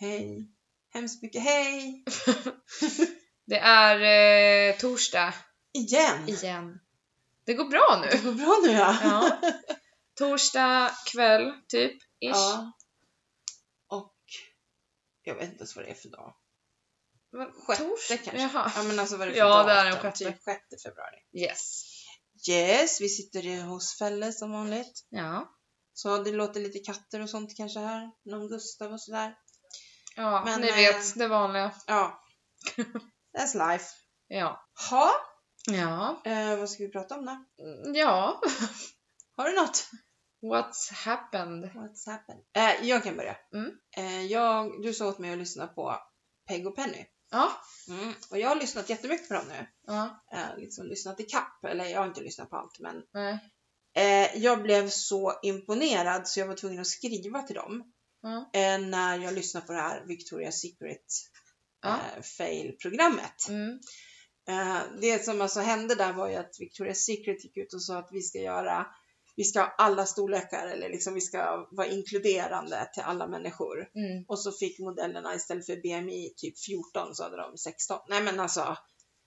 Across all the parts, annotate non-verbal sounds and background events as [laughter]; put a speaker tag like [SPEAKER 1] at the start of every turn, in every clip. [SPEAKER 1] Mm.
[SPEAKER 2] Hemskt mycket hej!
[SPEAKER 1] Det är eh, torsdag
[SPEAKER 2] Igen!
[SPEAKER 1] igen. Det går bra nu.
[SPEAKER 2] Det går bra nu ja.
[SPEAKER 1] [laughs] Ja. Torsdag kväll, typ. Ish.
[SPEAKER 2] Ja. Och jag vet inte ens vad det är för dag.
[SPEAKER 1] Vad-
[SPEAKER 2] Sjätte
[SPEAKER 1] Torsdag?
[SPEAKER 2] kanske.
[SPEAKER 1] Jaha.
[SPEAKER 2] Ja men alltså vad är det för
[SPEAKER 1] Ja,
[SPEAKER 2] dag?
[SPEAKER 1] det är den
[SPEAKER 2] Typ
[SPEAKER 1] sjätte.
[SPEAKER 2] sjätte februari.
[SPEAKER 1] Yes.
[SPEAKER 2] Yes, vi sitter i- hos Felle som vanligt.
[SPEAKER 1] Ja.
[SPEAKER 2] Så det låter lite katter och sånt kanske här. Någon Gustav och sådär.
[SPEAKER 1] ja
[SPEAKER 2] Men,
[SPEAKER 1] ni
[SPEAKER 2] eh,
[SPEAKER 1] vet det vanliga. [laughs]
[SPEAKER 2] Ja. That's life.
[SPEAKER 1] Ja.
[SPEAKER 2] Ha,
[SPEAKER 1] Ja.
[SPEAKER 2] eh, vad ska vi prata om då?
[SPEAKER 1] Mm, Ja.
[SPEAKER 2] Har du något?
[SPEAKER 1] What's happened?
[SPEAKER 2] What's happened? Eh, jag kan börja.
[SPEAKER 1] Mm.
[SPEAKER 2] Eh, jag, du sa åt mig att lyssna på Peg och Penny. Mm.
[SPEAKER 1] Ja.
[SPEAKER 2] Och jag har lyssnat jättemycket på dem nu.
[SPEAKER 1] Ja.
[SPEAKER 2] Eh, liksom lyssnat i kapp. Eller jag har inte lyssnat på allt men.
[SPEAKER 1] Nej.
[SPEAKER 2] Eh, jag blev så imponerad så jag var tvungen att skriva till dem.
[SPEAKER 1] Ja.
[SPEAKER 2] Eh, när jag lyssnade på det här Victoria's Secret
[SPEAKER 1] Ja.
[SPEAKER 2] eh, fail-programmet.
[SPEAKER 1] Mm.
[SPEAKER 2] Eh, det som alltså hände där var ju att Victoria's Secret gick ut och sa att vi ska göra, vi ska ha alla storlekar eller liksom vi ska vara inkluderande till alla människor.
[SPEAKER 1] Mm.
[SPEAKER 2] Och så fick modellerna istället för BMI typ 14 så hade de 16. Nej men alltså,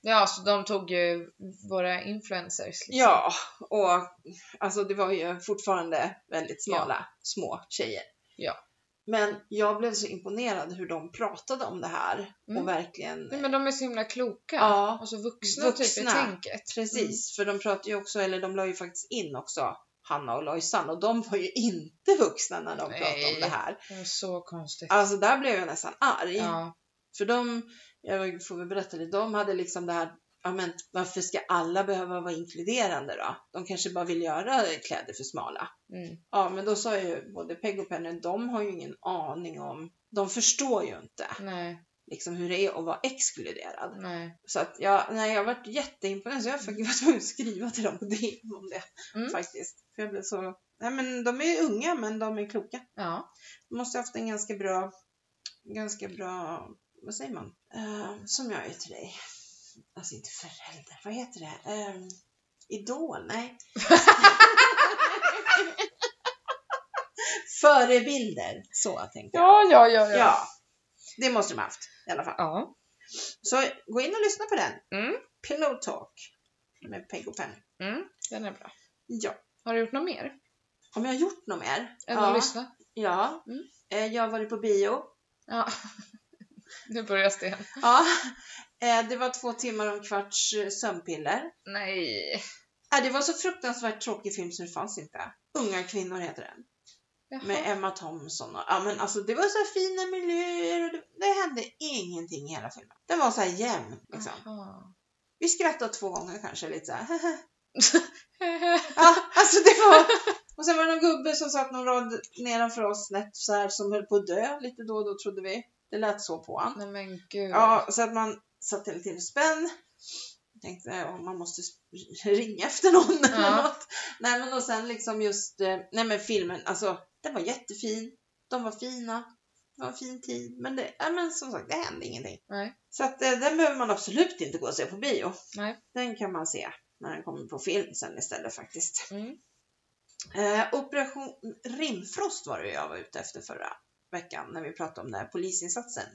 [SPEAKER 1] Ja, så de tog ju våra influencers. Liksom.
[SPEAKER 2] ja. Och alltså det var ju fortfarande väldigt smala, små tjejer.
[SPEAKER 1] Ja.
[SPEAKER 2] Men jag blev så imponerad hur de pratade om det här
[SPEAKER 1] Mm.
[SPEAKER 2] och verkligen
[SPEAKER 1] Nej, men de är så himla kloka.
[SPEAKER 2] Ja.
[SPEAKER 1] Och så vuxna, typ
[SPEAKER 2] Vuxna.
[SPEAKER 1] i tänket.
[SPEAKER 2] Precis,
[SPEAKER 1] Mm.
[SPEAKER 2] för de pratar ju också, eller de la ju faktiskt in också Hanna och Lojsan och de var ju inte vuxna när de
[SPEAKER 1] Nej.
[SPEAKER 2] pratade om det här.
[SPEAKER 1] Det var Mm. så konstigt.
[SPEAKER 2] Alltså där blev jag nästan arg.
[SPEAKER 1] Ja.
[SPEAKER 2] För de, jag får väl berätta lite, de hade liksom det här, ja men varför ska alla behöva vara inkluderande då? De kanske bara vill göra kläder för smala.
[SPEAKER 1] Mm.
[SPEAKER 2] Ja men då sa ju både Peg och Penny, de har ju ingen aning om, de förstår ju inte
[SPEAKER 1] Nej,
[SPEAKER 2] liksom hur det är att vara exkluderad.
[SPEAKER 1] nej.
[SPEAKER 2] Så att jag, nej, jag varit jätteimponerad så jag faktiskt var [laughs] tvungen att skriva till dem på DM om det.
[SPEAKER 1] Mm.
[SPEAKER 2] Faktiskt. För jag blev så, nej men de är ju unga men de är kloka.
[SPEAKER 1] Ja.
[SPEAKER 2] De måste ha haft en ganska bra, ganska bra, vad säger man? Eh, som jag är till dig. Alltså inte förälder, vad heter det? Eh, idol?
[SPEAKER 1] [laughs]
[SPEAKER 2] Nej. Förebilder, så tänkte jag.
[SPEAKER 1] Ja, ja, ja, ja.
[SPEAKER 2] Ja, det måste de ha haft i alla fall.
[SPEAKER 1] Ja.
[SPEAKER 2] Så gå in och lyssna på den.
[SPEAKER 1] Mm.
[SPEAKER 2] Pillow Talk med Peg och Penny.
[SPEAKER 1] Mm, den är bra.
[SPEAKER 2] Ja.
[SPEAKER 1] Har du gjort något mer?
[SPEAKER 2] Om jag har gjort något mer?
[SPEAKER 1] Än
[SPEAKER 2] ja.
[SPEAKER 1] att lyssna?
[SPEAKER 2] Ja.
[SPEAKER 1] Mm.
[SPEAKER 2] Eh, Jag har varit på bio.
[SPEAKER 1] Ja. nu börjar Sten.
[SPEAKER 2] Ja. [laughs] Eh, Det var två timmar och en kvarts eh, sömnpiller.
[SPEAKER 1] Nej.
[SPEAKER 2] Eh, Det var så fruktansvärt tråkig film så det fanns inte. Unga kvinnor heter den.
[SPEAKER 1] Jaha.
[SPEAKER 2] Med Emma Thompson och, ja men alltså det var så här fina miljöer och det, det hände ingenting i hela filmen. Den var så här jämn liksom.
[SPEAKER 1] Mm. Jaha. [laughs]
[SPEAKER 2] Vi skrattade två gånger kanske lite så här. [laughs] Ja, alltså det var... Och sen var det någon gubbe som satt någon rad nedanför oss snett så här, som höll på att dö lite då och då trodde vi. Det lät så på han.
[SPEAKER 1] Nej men gud.
[SPEAKER 2] Ja, så att man satt hela tiden spänd. Tänkte om man måste sp- ringa efter någon eller
[SPEAKER 1] Ja.
[SPEAKER 2] något. Nej men och sen liksom just, eh, nej men filmen, alltså den var jättefin. De var fina. Det var en fin tid. Men det, ja, men som sagt, det hände ingenting.
[SPEAKER 1] Nej.
[SPEAKER 2] Så att eh, den behöver man absolut inte gå och se på bio.
[SPEAKER 1] Nej.
[SPEAKER 2] Den kan man se när den kommer på film sen istället faktiskt.
[SPEAKER 1] Mm.
[SPEAKER 2] Eh, Operation Rimfrost var det jag var ute efter förra veckan när vi pratade om den här polisinsatsen.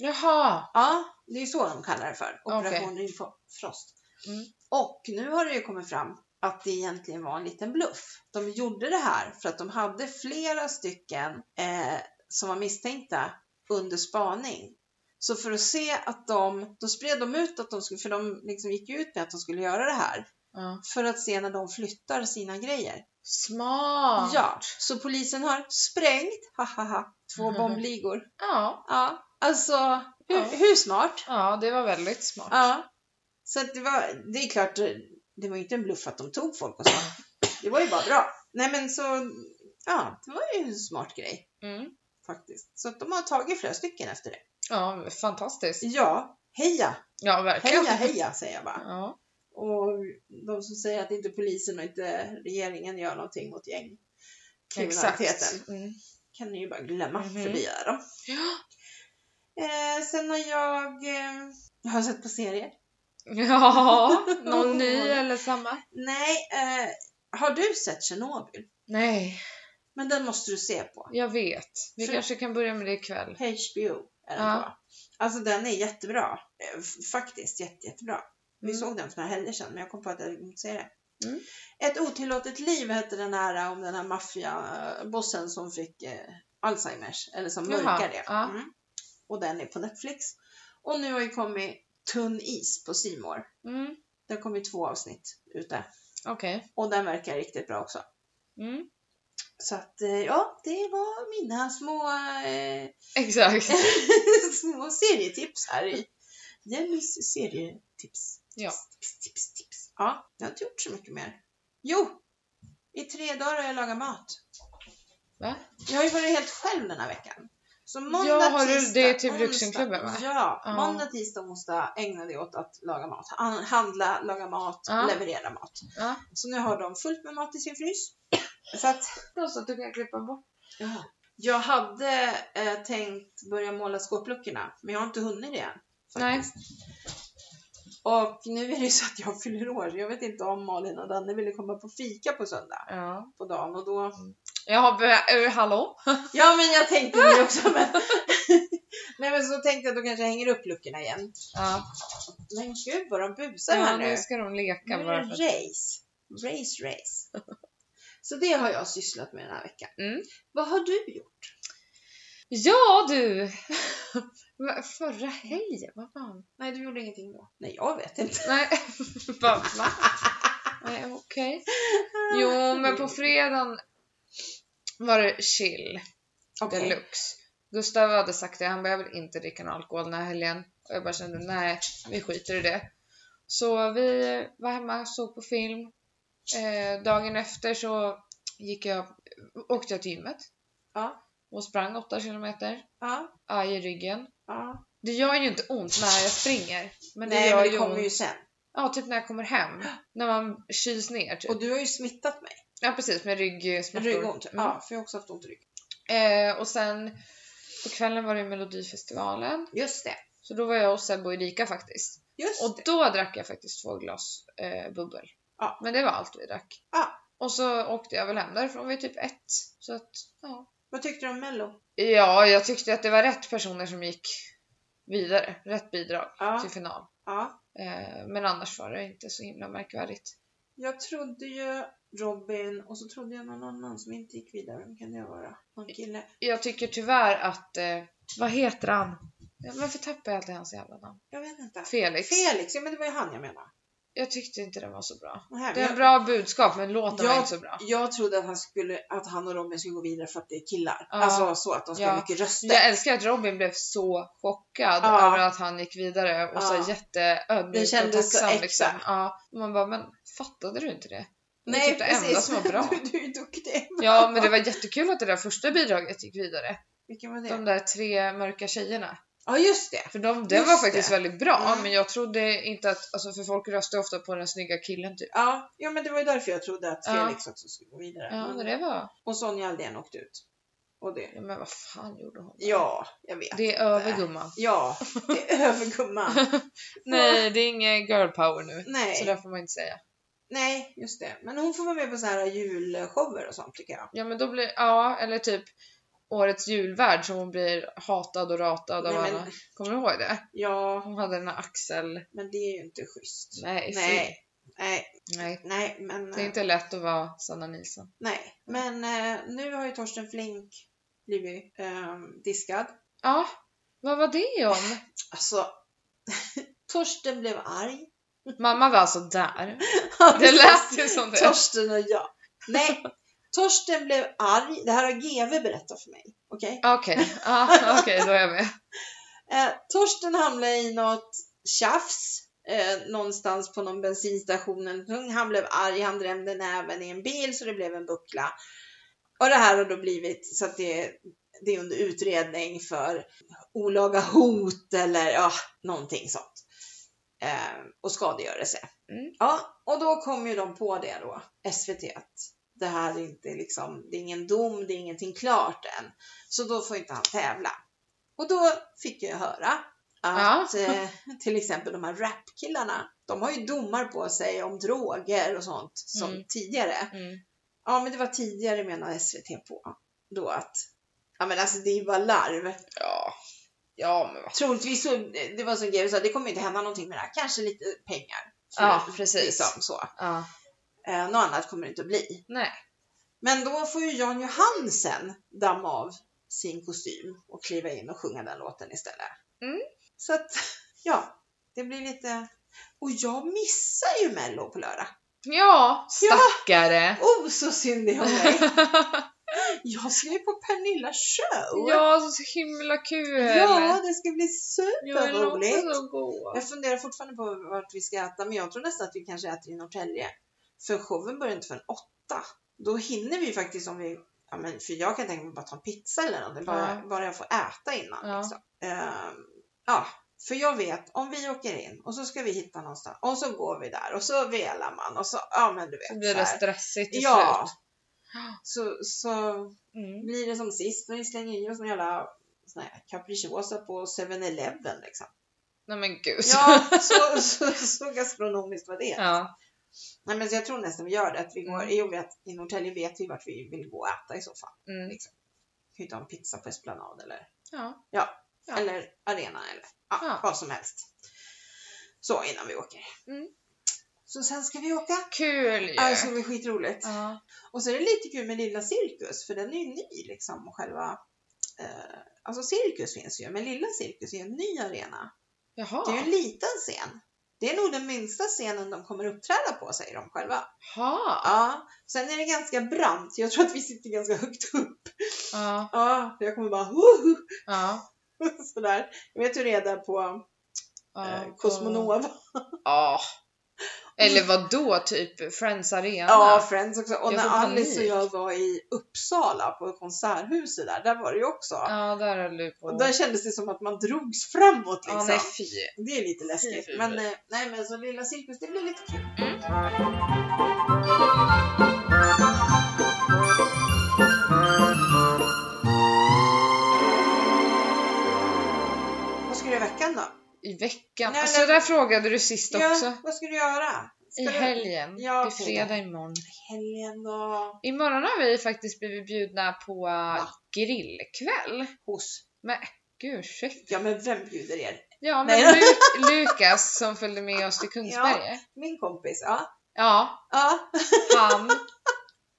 [SPEAKER 1] Jaha.
[SPEAKER 2] Ja, det är ju så de kallar det för. Operation Rimfrost.
[SPEAKER 1] Mm.
[SPEAKER 2] Och nu har det ju kommit fram att det egentligen var en liten bluff. De gjorde det här för att de hade flera stycken eh, som var misstänkta under spaning. Så för att se att de, då spred de ut att de skulle, för de liksom gick ju ut med att de skulle göra det här.
[SPEAKER 1] Ja.
[SPEAKER 2] För att se när de flyttar sina grejer.
[SPEAKER 1] Smart.
[SPEAKER 2] Ja, så polisen har sprängt, hahaha,
[SPEAKER 1] [laughs]
[SPEAKER 2] två
[SPEAKER 1] Mhm.
[SPEAKER 2] bombligor.
[SPEAKER 1] ja.
[SPEAKER 2] Ja, alltså hur,
[SPEAKER 1] Ja.
[SPEAKER 2] hur smart?
[SPEAKER 1] Ja, det var väldigt smart.
[SPEAKER 2] Ja. Så att det var, det är klart, det var ju inte en bluff att de tog folk och så. Det var ju bara bra. Nej men så, ja, det var ju en smart grej
[SPEAKER 1] Mm.
[SPEAKER 2] faktiskt. Så att de har tagit flera stycken efter det.
[SPEAKER 1] Ja, fantastiskt.
[SPEAKER 2] Ja, heja,
[SPEAKER 1] Ja, verkligen.
[SPEAKER 2] heja, heja säger jag bara.
[SPEAKER 1] Ja.
[SPEAKER 2] Och de som säger att inte polisen och inte regeringen gör någonting mot gängkriminaliteten
[SPEAKER 1] Exakt. Mm.
[SPEAKER 2] kan ni ju bara glömma,
[SPEAKER 1] Mhm.
[SPEAKER 2] för vi gör dem.
[SPEAKER 1] Ja.
[SPEAKER 2] Eh, sen har jag, eh, jag har sett på serier.
[SPEAKER 1] [laughs] ja, någon ny eller samma?
[SPEAKER 2] Nej, eh, har du sett Tjernobyl?
[SPEAKER 1] Nej,
[SPEAKER 2] Men den måste du se på.
[SPEAKER 1] jag vet. Vi
[SPEAKER 2] För-
[SPEAKER 1] kanske kan börja med det ikväll.
[SPEAKER 2] HBO. Är den
[SPEAKER 1] Ja.
[SPEAKER 2] på. Alltså den är jättebra. Eh, f- Faktiskt jätte, jättebra. Vi
[SPEAKER 1] Mm.
[SPEAKER 2] såg den för några helger sedan men jag kom på att jag inte säga det.
[SPEAKER 1] Mm.
[SPEAKER 2] Ett otillåtet liv hette den här eh, om den här maffiabossen som fick eh, Alzheimers. Eller som
[SPEAKER 1] Jaha,
[SPEAKER 2] mörkar det.
[SPEAKER 1] ja.
[SPEAKER 2] Mm. Och den är på Netflix. Och nu har ju kommit Tunn is på C More.
[SPEAKER 1] Mm.
[SPEAKER 2] Det har kommit två avsnitt ute.
[SPEAKER 1] Okej.
[SPEAKER 2] Och den verkar riktigt bra också.
[SPEAKER 1] [laughs] Mm.
[SPEAKER 2] Så att eh, ja, det var mina små, eh,
[SPEAKER 1] Exakt.
[SPEAKER 2] [laughs] små serietips här i Jennys serietips.
[SPEAKER 1] Ja.
[SPEAKER 2] Tips, tips, tips. Ja, jag har inte gjort så mycket mer. Jo! I tre dagar har jag lagat mat.
[SPEAKER 1] Va?
[SPEAKER 2] Jag har ju varit helt själv den här veckan. Så måndag,
[SPEAKER 1] Ja, har du-
[SPEAKER 2] tisdag,
[SPEAKER 1] det är typ
[SPEAKER 2] onsdag-
[SPEAKER 1] Vuxenklubben, va?
[SPEAKER 2] Ja,
[SPEAKER 1] Ja.
[SPEAKER 2] måndag, tisdag, onsdag ägnade jag åt att laga mat. An- Handla, laga mat,
[SPEAKER 1] Ja.
[SPEAKER 2] leverera mat.
[SPEAKER 1] Ja.
[SPEAKER 2] Så nu har de fullt med mat i sin frys. [clears throat] Så att
[SPEAKER 1] Bra så att du kan klippa bort.
[SPEAKER 2] jag hade eh, tänkt börja måla skåpluckorna, men jag har inte hunnit det än.
[SPEAKER 1] Nej.
[SPEAKER 2] Och nu är det ju så att jag fyller år. Jag vet inte om Malin och Danne ville komma på fika på söndag
[SPEAKER 1] Ja.
[SPEAKER 2] på dagen och då...
[SPEAKER 1] Jag har be- eh, hallå?
[SPEAKER 2] Ja, men jag tänkte det också. Men... [laughs] Nej, men så tänkte jag då kanske jag hänger upp luckorna igen.
[SPEAKER 1] Ja.
[SPEAKER 2] Men gud vad de busar
[SPEAKER 1] ja,
[SPEAKER 2] här nu.
[SPEAKER 1] nu ska de
[SPEAKER 2] Nu
[SPEAKER 1] leka
[SPEAKER 2] är
[SPEAKER 1] bara
[SPEAKER 2] det
[SPEAKER 1] för att-
[SPEAKER 2] race. Race, race. Så det har jag sysslat med den här veckan.
[SPEAKER 1] Mm.
[SPEAKER 2] Vad har du gjort?
[SPEAKER 1] Ja du! [laughs] Va- Förra helgen, vad fan?
[SPEAKER 2] Nej, du gjorde ingenting då. Nej, jag vet inte.
[SPEAKER 1] Nej, [laughs] bara va? Nej, okej. Jo, men [laughs] på fredagen var det chill
[SPEAKER 2] Okej.
[SPEAKER 1] deluxe. Gustav hade sagt det, han behöver inte dricka någon alkohol den här helgen. Och jag bara kände, nej, vi skiter i det. Så vi var hemma, såg på film. Eh, dagen efter så gick jag, åkte jag till gymmet
[SPEAKER 2] Ja.
[SPEAKER 1] och sprang 8 kilometer.
[SPEAKER 2] Ja,
[SPEAKER 1] Aj i ryggen.
[SPEAKER 2] ja.
[SPEAKER 1] Det gör ju inte ont när jag springer. Men det
[SPEAKER 2] Nej,
[SPEAKER 1] gör
[SPEAKER 2] men det
[SPEAKER 1] ju
[SPEAKER 2] kommer
[SPEAKER 1] ont.
[SPEAKER 2] ju sen.
[SPEAKER 1] Ja, typ när jag kommer hem. När man kyls ner typ.
[SPEAKER 2] Och du har ju smittat mig.
[SPEAKER 1] Ja precis, med ryggsmärtor.
[SPEAKER 2] Ryggont.
[SPEAKER 1] Mm.
[SPEAKER 2] Ja, för jag har också haft ont i ryggen.
[SPEAKER 1] Eh, och sen på kvällen var det Melodifestivalen.
[SPEAKER 2] Just det.
[SPEAKER 1] Så då var jag hos Sebbe och Erika faktiskt.
[SPEAKER 2] Just
[SPEAKER 1] Och
[SPEAKER 2] det.
[SPEAKER 1] då drack jag faktiskt två glas eh, bubbel.
[SPEAKER 2] Ja.
[SPEAKER 1] Men det var allt vi drack.
[SPEAKER 2] Ja.
[SPEAKER 1] Och så åkte jag väl hem därifrån vid typ ett. Så att, ja.
[SPEAKER 2] Vad tyckte du om Mello?
[SPEAKER 1] ja, jag tyckte att det var rätt personer som gick vidare. Rätt bidrag
[SPEAKER 2] Ja,
[SPEAKER 1] till final.
[SPEAKER 2] ja.
[SPEAKER 1] Eh, men annars var det inte så himla märkvärdigt.
[SPEAKER 2] Jag trodde ju Robin och så trodde jag någon annan som inte gick vidare. Vem kan det vara? Någon kille?
[SPEAKER 1] Jag tycker tyvärr att, eh, vad heter han? Ja, Varför tappar jag alltid hans jävla namn?
[SPEAKER 2] Jag vet inte.
[SPEAKER 1] Felix.
[SPEAKER 2] Felix, ja men det var ju han jag menade.
[SPEAKER 1] Jag tyckte inte den var så bra.
[SPEAKER 2] Nej,
[SPEAKER 1] Det
[SPEAKER 2] men
[SPEAKER 1] är en
[SPEAKER 2] jag,
[SPEAKER 1] bra budskap men låten
[SPEAKER 2] Ja.
[SPEAKER 1] var inte så bra.
[SPEAKER 2] jag trodde att han, skulle, att han och Robin skulle gå vidare för att det är killar.
[SPEAKER 1] Ja.
[SPEAKER 2] Alltså så att de ska
[SPEAKER 1] Ja.
[SPEAKER 2] ha mycket röster.
[SPEAKER 1] Jag älskar att Robin blev så chockad
[SPEAKER 2] Ja.
[SPEAKER 1] över att han gick vidare och
[SPEAKER 2] Ja.
[SPEAKER 1] så jätteödmjuk
[SPEAKER 2] Det kändes
[SPEAKER 1] och
[SPEAKER 2] så
[SPEAKER 1] tacksam.
[SPEAKER 2] äkta.
[SPEAKER 1] Liksom. Ja. Och man bara, men fattade du inte det? Det är
[SPEAKER 2] Nej
[SPEAKER 1] typ det enda som var bra.
[SPEAKER 2] [laughs] Du, du är duktig.
[SPEAKER 1] Ja, men det var jättekul att det där första bidraget gick vidare.
[SPEAKER 2] Vilken var det?
[SPEAKER 1] De där tre mörka tjejerna.
[SPEAKER 2] Ja just det.
[SPEAKER 1] För de, det
[SPEAKER 2] Just
[SPEAKER 1] var faktiskt
[SPEAKER 2] det.
[SPEAKER 1] väldigt bra,
[SPEAKER 2] Mm.
[SPEAKER 1] men jag trodde inte att, alltså för folk röstar ofta på den snygga killen typ.
[SPEAKER 2] Ja, ja men det var ju därför jag trodde att
[SPEAKER 1] Ja.
[SPEAKER 2] Felix också skulle gå vidare.
[SPEAKER 1] Ja,
[SPEAKER 2] Men-
[SPEAKER 1] men det var...
[SPEAKER 2] Och Sonja Aldén åkte ut. Och det.
[SPEAKER 1] Ja, men vad fan gjorde hon?
[SPEAKER 2] Ja, jag vet.
[SPEAKER 1] Det är över gumman.
[SPEAKER 2] Ja, det är över gumman.
[SPEAKER 1] [laughs] Nej, det är ingen girl power nu. Så
[SPEAKER 2] Nej,
[SPEAKER 1] där får man inte säga.
[SPEAKER 2] nej, just det. Men hon får vara med på så här julshower och sånt tycker jag.
[SPEAKER 1] Ja men då blir, ja eller typ årets julvärd som hon blir hatad och ratad av
[SPEAKER 2] Nej,
[SPEAKER 1] alla.
[SPEAKER 2] men,
[SPEAKER 1] Kommer du ihåg det?
[SPEAKER 2] ja,
[SPEAKER 1] Hon hade den här axel...
[SPEAKER 2] men det är ju inte schysst.
[SPEAKER 1] Nej, nej.
[SPEAKER 2] Nej, nej,
[SPEAKER 1] nej.
[SPEAKER 2] nej, men,
[SPEAKER 1] Det är inte lätt att vara Sanna Nilsson.
[SPEAKER 2] nej. men eh, nu har ju Torsten Flink blivit ehm, diskad.
[SPEAKER 1] Ja, vad var det om?
[SPEAKER 2] Alltså, [laughs] Torsten blev arg. [laughs]
[SPEAKER 1] Mamma var alltså där. Det lät ju som det.
[SPEAKER 2] Torsten och jag. Nej, Torsten blev arg. Det här har GV berättat för mig. Okej?
[SPEAKER 1] Okej, ja, okej då är jag med.
[SPEAKER 2] Eh, Torsten hamnade i något tjafs eh, någonstans på någon bensinstation. eller någonting. Han blev arg, han drämde näven i en bil så det blev en buckla. Och det här har då blivit så att det, det är under utredning för olaga hot eller ja, någonting sånt. Eh, och skadegörelse.
[SPEAKER 1] Mm.
[SPEAKER 2] Ja, och då kom ju de på det då, SVT, att det här är inte liksom, det är ingen dom, det är ingenting klart än. Så då får inte han tävla. Och då fick jag höra att eh, till exempel de här rapkillarna, de har ju domar på sig om droger och sånt som
[SPEAKER 1] Mm.
[SPEAKER 2] tidigare.
[SPEAKER 1] Mm.
[SPEAKER 2] Ja, men det var tidigare menar SVT på då att ja, men alltså det är ju bara larv.
[SPEAKER 1] Ja, Ja, men vad
[SPEAKER 2] Troligtvis så, det var som Geo sa, det kommer inte hända någonting med det här. Kanske lite pengar.
[SPEAKER 1] Ja, precis.
[SPEAKER 2] Liksom så.
[SPEAKER 1] Ja.
[SPEAKER 2] Eh, något annat kommer det inte att bli.
[SPEAKER 1] Nej.
[SPEAKER 2] Men då får ju Jan Johansen damma av sin kostym och kliva in och sjunga den låten istället.
[SPEAKER 1] Mm.
[SPEAKER 2] Så att, ja, det blir lite... Och jag missar ju Mello på lördag.
[SPEAKER 1] Ja, stackare.
[SPEAKER 2] Oh, så
[SPEAKER 1] [laughs]
[SPEAKER 2] synd det är om mig. Jag ska ju på Pernilla show.
[SPEAKER 1] Ja, så himla kul.
[SPEAKER 2] Ja, det ska bli
[SPEAKER 1] Ja, det låter
[SPEAKER 2] superroligt.
[SPEAKER 1] så god.
[SPEAKER 2] Jag funderar fortfarande på vart vi ska äta, men jag tror nästan att vi kanske äter i Norrtälje. För showen börjar inte förrän åtta. Då hinner vi faktiskt om vi, ja men för jag kan tänka mig bara ta en pizza eller någonting, bara,
[SPEAKER 1] Ja.
[SPEAKER 2] bara jag får äta innan.
[SPEAKER 1] Ja.
[SPEAKER 2] Liksom. Ehm, ja, för jag vet, om vi åker in och så ska vi hitta någonstans och så går vi där och så velar man och så, ja men du vet.
[SPEAKER 1] Så blir
[SPEAKER 2] så
[SPEAKER 1] det
[SPEAKER 2] här.
[SPEAKER 1] stressigt till
[SPEAKER 2] Ja.
[SPEAKER 1] Ja.
[SPEAKER 2] Så, så
[SPEAKER 1] slut. Mm.
[SPEAKER 2] blir det som sist när vi slänger i oss någon jävla sån här capricciosa på 7-Eleven
[SPEAKER 1] [laughs]
[SPEAKER 2] liksom.
[SPEAKER 1] Nej men gud.
[SPEAKER 2] Ja, så, så, så gastronomiskt var det.
[SPEAKER 1] Ja.
[SPEAKER 2] Nej, men så jag tror nästan vi gör det. Att vi går,
[SPEAKER 1] Mm.
[SPEAKER 2] i och med att i Norrtälje vet vi vart vi vill gå och äta i så fall.
[SPEAKER 1] Mm.
[SPEAKER 2] Vi kan ju ta en pizza på Esplanad eller,
[SPEAKER 1] Ja. Ja.
[SPEAKER 2] eller arena eller ja,
[SPEAKER 1] Ja.
[SPEAKER 2] vad som helst. Så innan vi åker.
[SPEAKER 1] Mm.
[SPEAKER 2] Så sen ska vi åka.
[SPEAKER 1] Kul ju.
[SPEAKER 2] Ja, det ska bli skitroligt.
[SPEAKER 1] ja.
[SPEAKER 2] Och så är det lite kul med Lilla Cirkus, för den är ju ny liksom. Och själva, eh, alltså Cirkus finns ju, men Lilla Cirkus är en ny arena.
[SPEAKER 1] Jaha.
[SPEAKER 2] Det är ju en liten scen. Det är nog den minsta scenen de kommer uppträda på, säger de själva.
[SPEAKER 1] Ha.
[SPEAKER 2] Ja, sen är det ganska brant. Jag tror att vi sitter ganska högt upp.
[SPEAKER 1] Ja.
[SPEAKER 2] Ja, för jag kommer bara "Woho!" [laughs]
[SPEAKER 1] Ja.
[SPEAKER 2] sådär. Jag vet hur det är där på
[SPEAKER 1] Ja.
[SPEAKER 2] eh, Cosmonova.
[SPEAKER 1] Ja. Eller vad då typ Friends Arena?
[SPEAKER 2] Ja, Friends också. Och
[SPEAKER 1] Jag
[SPEAKER 2] när
[SPEAKER 1] får
[SPEAKER 2] Alice och
[SPEAKER 1] panik.
[SPEAKER 2] jag var i Uppsala på konserthuset där, där var det ju också.
[SPEAKER 1] Ja, där höll du på.
[SPEAKER 2] Och där kändes det som att man drogs framåt
[SPEAKER 1] Ja,
[SPEAKER 2] liksom.
[SPEAKER 1] nej fy.
[SPEAKER 2] Det är lite läskigt.
[SPEAKER 1] Fy, fy,
[SPEAKER 2] Men
[SPEAKER 1] fy.
[SPEAKER 2] eh, nej men så Lilla Cirkus, det blir lite kul.
[SPEAKER 1] Mm.
[SPEAKER 2] Vad ska du göra i veckan då?
[SPEAKER 1] I veckan.
[SPEAKER 2] Nej,
[SPEAKER 1] alltså
[SPEAKER 2] nej.
[SPEAKER 1] där frågade du sist också.
[SPEAKER 2] Ja, vad ska du göra? Ska
[SPEAKER 1] I
[SPEAKER 2] du...
[SPEAKER 1] helgen.
[SPEAKER 2] Ja,
[SPEAKER 1] det är
[SPEAKER 2] okej.
[SPEAKER 1] fredag imorgon.
[SPEAKER 2] Helgen då?
[SPEAKER 1] Imorgon har vi faktiskt blivit bjudna på eh, grillkväll.
[SPEAKER 2] Hos?
[SPEAKER 1] Gud ursäkta.
[SPEAKER 2] Ja men vem bjuder er?
[SPEAKER 1] Ja men
[SPEAKER 2] Nej.
[SPEAKER 1] Lu- Lukas som följde med oss till Kungsberget.
[SPEAKER 2] Min kompis, ja.
[SPEAKER 1] Ja,
[SPEAKER 2] Ja,
[SPEAKER 1] han.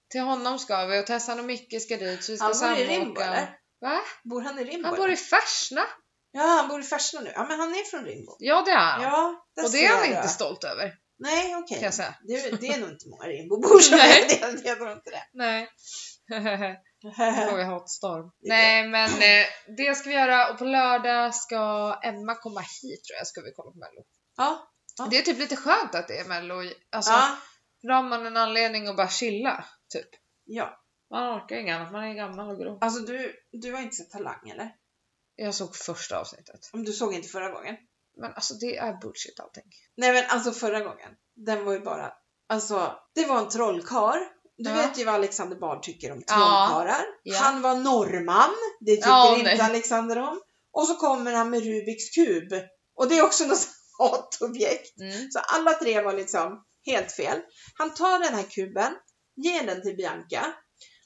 [SPEAKER 1] Till honom ska vi och Tessan och Micke ska dit så vi ska
[SPEAKER 2] han bor i
[SPEAKER 1] samåka.
[SPEAKER 2] Rimbo eller?
[SPEAKER 1] Va?
[SPEAKER 2] Bor han i Rimbo?
[SPEAKER 1] Han bor i Färsna.
[SPEAKER 2] Ja, han bor i Färsna nu. Ja men han är från Rimbo.
[SPEAKER 1] Ja det är han.
[SPEAKER 2] Ja, där
[SPEAKER 1] och det
[SPEAKER 2] ser
[SPEAKER 1] är han
[SPEAKER 2] du.
[SPEAKER 1] inte stolt över
[SPEAKER 2] Nej, okej.
[SPEAKER 1] kan jag säga.
[SPEAKER 2] Det, det är nog inte många Rimbobor som
[SPEAKER 1] Nej.
[SPEAKER 2] är [laughs] det. Jag tror
[SPEAKER 1] [laughs]
[SPEAKER 2] inte det.
[SPEAKER 1] Nej.
[SPEAKER 2] [laughs]
[SPEAKER 1] Nu får vi hatstorm. Nej men eh, det ska vi göra och på lördag ska Emma komma hit tror jag ska vi kolla på mello.
[SPEAKER 2] ja, Ja.
[SPEAKER 1] Det är typ lite skönt att det är mello. i- Alltså,
[SPEAKER 2] ja,
[SPEAKER 1] Då har man en anledning att bara chilla, typ.
[SPEAKER 2] ja.
[SPEAKER 1] Man orkar inget annat, man är gammal och grå.
[SPEAKER 2] Alltså du, du har inte sett Talang eller?
[SPEAKER 1] Jag såg första avsnittet.
[SPEAKER 2] Om du såg inte förra gången?
[SPEAKER 1] Men alltså det är bullshit allting.
[SPEAKER 2] Nej men alltså förra gången, den var ju bara, alltså det var en trollkar. Du
[SPEAKER 1] Ja.
[SPEAKER 2] vet ju vad Alexander Bard tycker om
[SPEAKER 1] Ja.
[SPEAKER 2] trollkarlar.
[SPEAKER 1] Ja.
[SPEAKER 2] Han var norrman, det tycker
[SPEAKER 1] Ja,
[SPEAKER 2] inte
[SPEAKER 1] nej.
[SPEAKER 2] Alexander om. Och så kommer han med Rubiks kub. Och det är också något [laughs] hatobjekt.
[SPEAKER 1] Mm.
[SPEAKER 2] Så alla tre var liksom helt fel. Han tar den här kuben, ger den till Bianca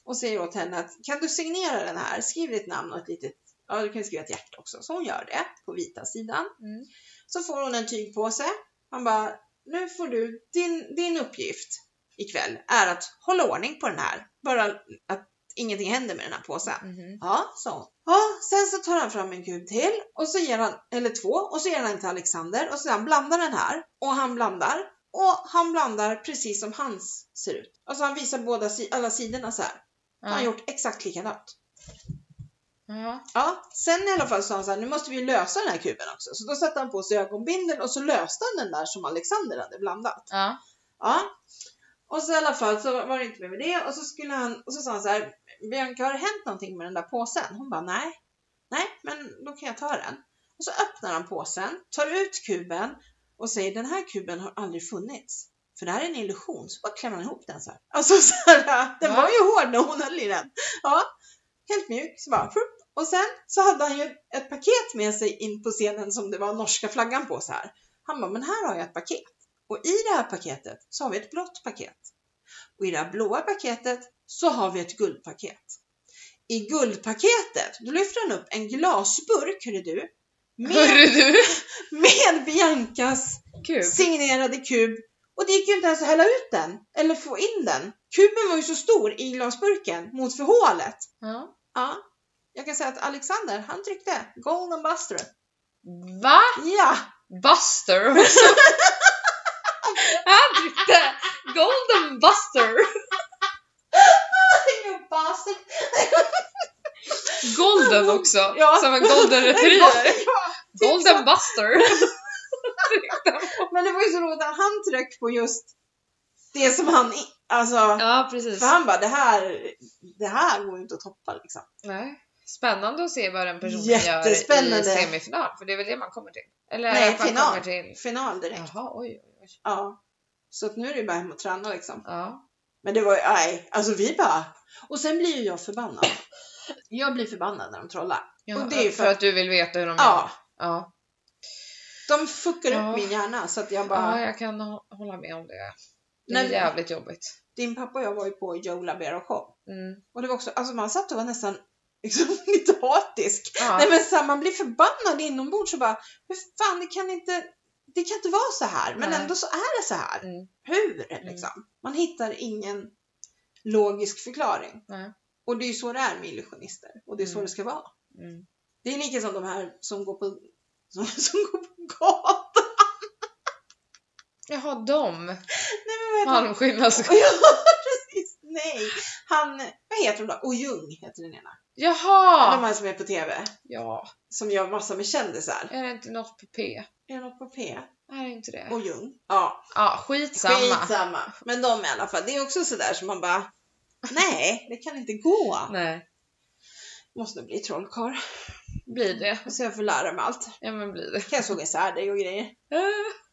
[SPEAKER 2] och säger åt henne att kan du signera den här? Skriv ditt namn och ett litet, ja du kan skriva ett hjärta också. Så hon gör det på vita sidan.
[SPEAKER 1] Mm.
[SPEAKER 2] Så får hon en tygpåse. Han bara, nu får du, din, din uppgift ikväll är att hålla ordning på den här. Bara att ingenting händer med den här påsen.
[SPEAKER 1] Mhm.
[SPEAKER 2] Ja, sa hon. Ja, sen så tar han fram en kub till och så ger han, eller två, och så ger han en till Alexander och så han blandar den här och han blandar och han blandar precis som hans ser ut. Alltså han visar båda si- alla sidorna så här. Han har
[SPEAKER 1] Ja.
[SPEAKER 2] gjort exakt likadant.
[SPEAKER 1] Ja.
[SPEAKER 2] Ja, sen i alla fall sa han så här, nu måste vi lösa den här kuben också. Så då satte han på sig ögonbindeln och så löste han den där som Alexander hade blandat.
[SPEAKER 1] Ja.
[SPEAKER 2] Ja. Och så i alla fall så var det inte mer med det och så skulle han och så sa han så här Bianca har det hänt någonting med den där påsen? Hon bara nej. Nej, men då kan jag ta den. Och så öppnar han påsen, tar ut kuben och säger den här kuben har aldrig funnits. För det här är en illusion. Så bara klämmer han ihop den så här. Alltså så här, den
[SPEAKER 1] Va?
[SPEAKER 2] var ju hård när hon höll i den. Ja, helt mjuk så bara. frupp. Och sen så hade han ju ett paket med sig in på scenen som det var norska flaggan på så här. Han bara, men här har jag ett paket. Och i det här paketet så har vi ett blått paket. Och i det här blåa paketet så har vi ett guldpaket. I guldpaketet, då lyfter han upp en glasburk, hörru du,
[SPEAKER 1] [laughs]
[SPEAKER 2] med,
[SPEAKER 1] Hörru du!
[SPEAKER 2] med Biancas
[SPEAKER 1] Kul!
[SPEAKER 2] signerade kub. Och det gick ju inte ens att hälla ut den, eller få in den. Kuben var ju så stor i glasburken mot förhålet.
[SPEAKER 1] Ja.
[SPEAKER 2] Ja, jag kan säga att Alexander, han tryckte Golden Buster.
[SPEAKER 1] Va?
[SPEAKER 2] Ja,
[SPEAKER 1] [laughs] Buster också! Han tryckte Golden Buster!
[SPEAKER 2] ingen Buster.
[SPEAKER 1] Golden också!
[SPEAKER 2] Ja.
[SPEAKER 1] Som en golden retriever! Golden Buster!
[SPEAKER 2] Men det var ju så roligt att han tryckte på just det som han, i- alltså.
[SPEAKER 1] Ja, precis.
[SPEAKER 2] För han bara, det här, det här går ju inte att toppa liksom.
[SPEAKER 1] Nej. Spännande att se vad den personen gör i
[SPEAKER 2] Jättespännande.
[SPEAKER 1] semifinal, för det är väl det man kommer till? Eller i
[SPEAKER 2] Nej,
[SPEAKER 1] alla fall
[SPEAKER 2] final.
[SPEAKER 1] kommer till...
[SPEAKER 2] Final direkt.
[SPEAKER 1] Jaha, oj, oj, oj.
[SPEAKER 2] Ja. Så att nu är det ju bara hem och träna liksom.
[SPEAKER 1] Ja.
[SPEAKER 2] Men det var ju, nej, alltså vi bara. Och sen blir ju jag förbannad. Jag blir förbannad när de trollar.
[SPEAKER 1] ja
[SPEAKER 2] Och det är ju
[SPEAKER 1] för...
[SPEAKER 2] för-
[SPEAKER 1] att du vill veta hur de gör.
[SPEAKER 2] Ja,
[SPEAKER 1] Ja.
[SPEAKER 2] de fuckar
[SPEAKER 1] Ja.
[SPEAKER 2] upp min hjärna så att jag bara.
[SPEAKER 1] ja, jag kan hå- hålla med om det. Det är
[SPEAKER 2] Nej, men-
[SPEAKER 1] jävligt jobbigt.
[SPEAKER 2] Din pappa och jag var ju på Joe Labero show.
[SPEAKER 1] Mm.
[SPEAKER 2] Och det var också, alltså man satt och var nästan liksom [laughs] lite hatisk.
[SPEAKER 1] Ja.
[SPEAKER 2] Nej men så här, man blir förbannad inombords och bara, hur fan det kan inte, det kan inte vara så här. Men
[SPEAKER 1] Nej.
[SPEAKER 2] ändå så är det så här.
[SPEAKER 1] Mm.
[SPEAKER 2] Hur liksom? Man hittar ingen logisk förklaring.
[SPEAKER 1] Nej.
[SPEAKER 2] Och det är ju så det är med illusionister. Och det är så
[SPEAKER 1] Mm.
[SPEAKER 2] det ska vara.
[SPEAKER 1] Mm.
[SPEAKER 2] Det är lika som de här som går på, som, [laughs] som går på gatan. [laughs]
[SPEAKER 1] Jaha, dem.
[SPEAKER 2] Nej men vad heter
[SPEAKER 1] Malmskillnads...
[SPEAKER 2] han? Ja precis, nej. Han, vad heter de då? Och Ljung heter den ena. De
[SPEAKER 1] Jaha!
[SPEAKER 2] här som är på TV.
[SPEAKER 1] Ja,
[SPEAKER 2] som gör massa med kändisar.
[SPEAKER 1] är det inte något på P?
[SPEAKER 2] Är det något på P?
[SPEAKER 1] Är det inte det?
[SPEAKER 2] Och Ljung. Ja,
[SPEAKER 1] Ja, skitsamma.
[SPEAKER 2] skitsamma. Men de i alla fall, det är också sådär som man bara, nej, det kan inte gå.
[SPEAKER 1] Nej,
[SPEAKER 2] Måste bli trollkarl.
[SPEAKER 1] blir det.
[SPEAKER 2] Så jag får lära mig allt.
[SPEAKER 1] Ja, men blir
[SPEAKER 2] [laughs]
[SPEAKER 1] det.
[SPEAKER 2] Kan jag såga isär dig och grejer.
[SPEAKER 1] Eh,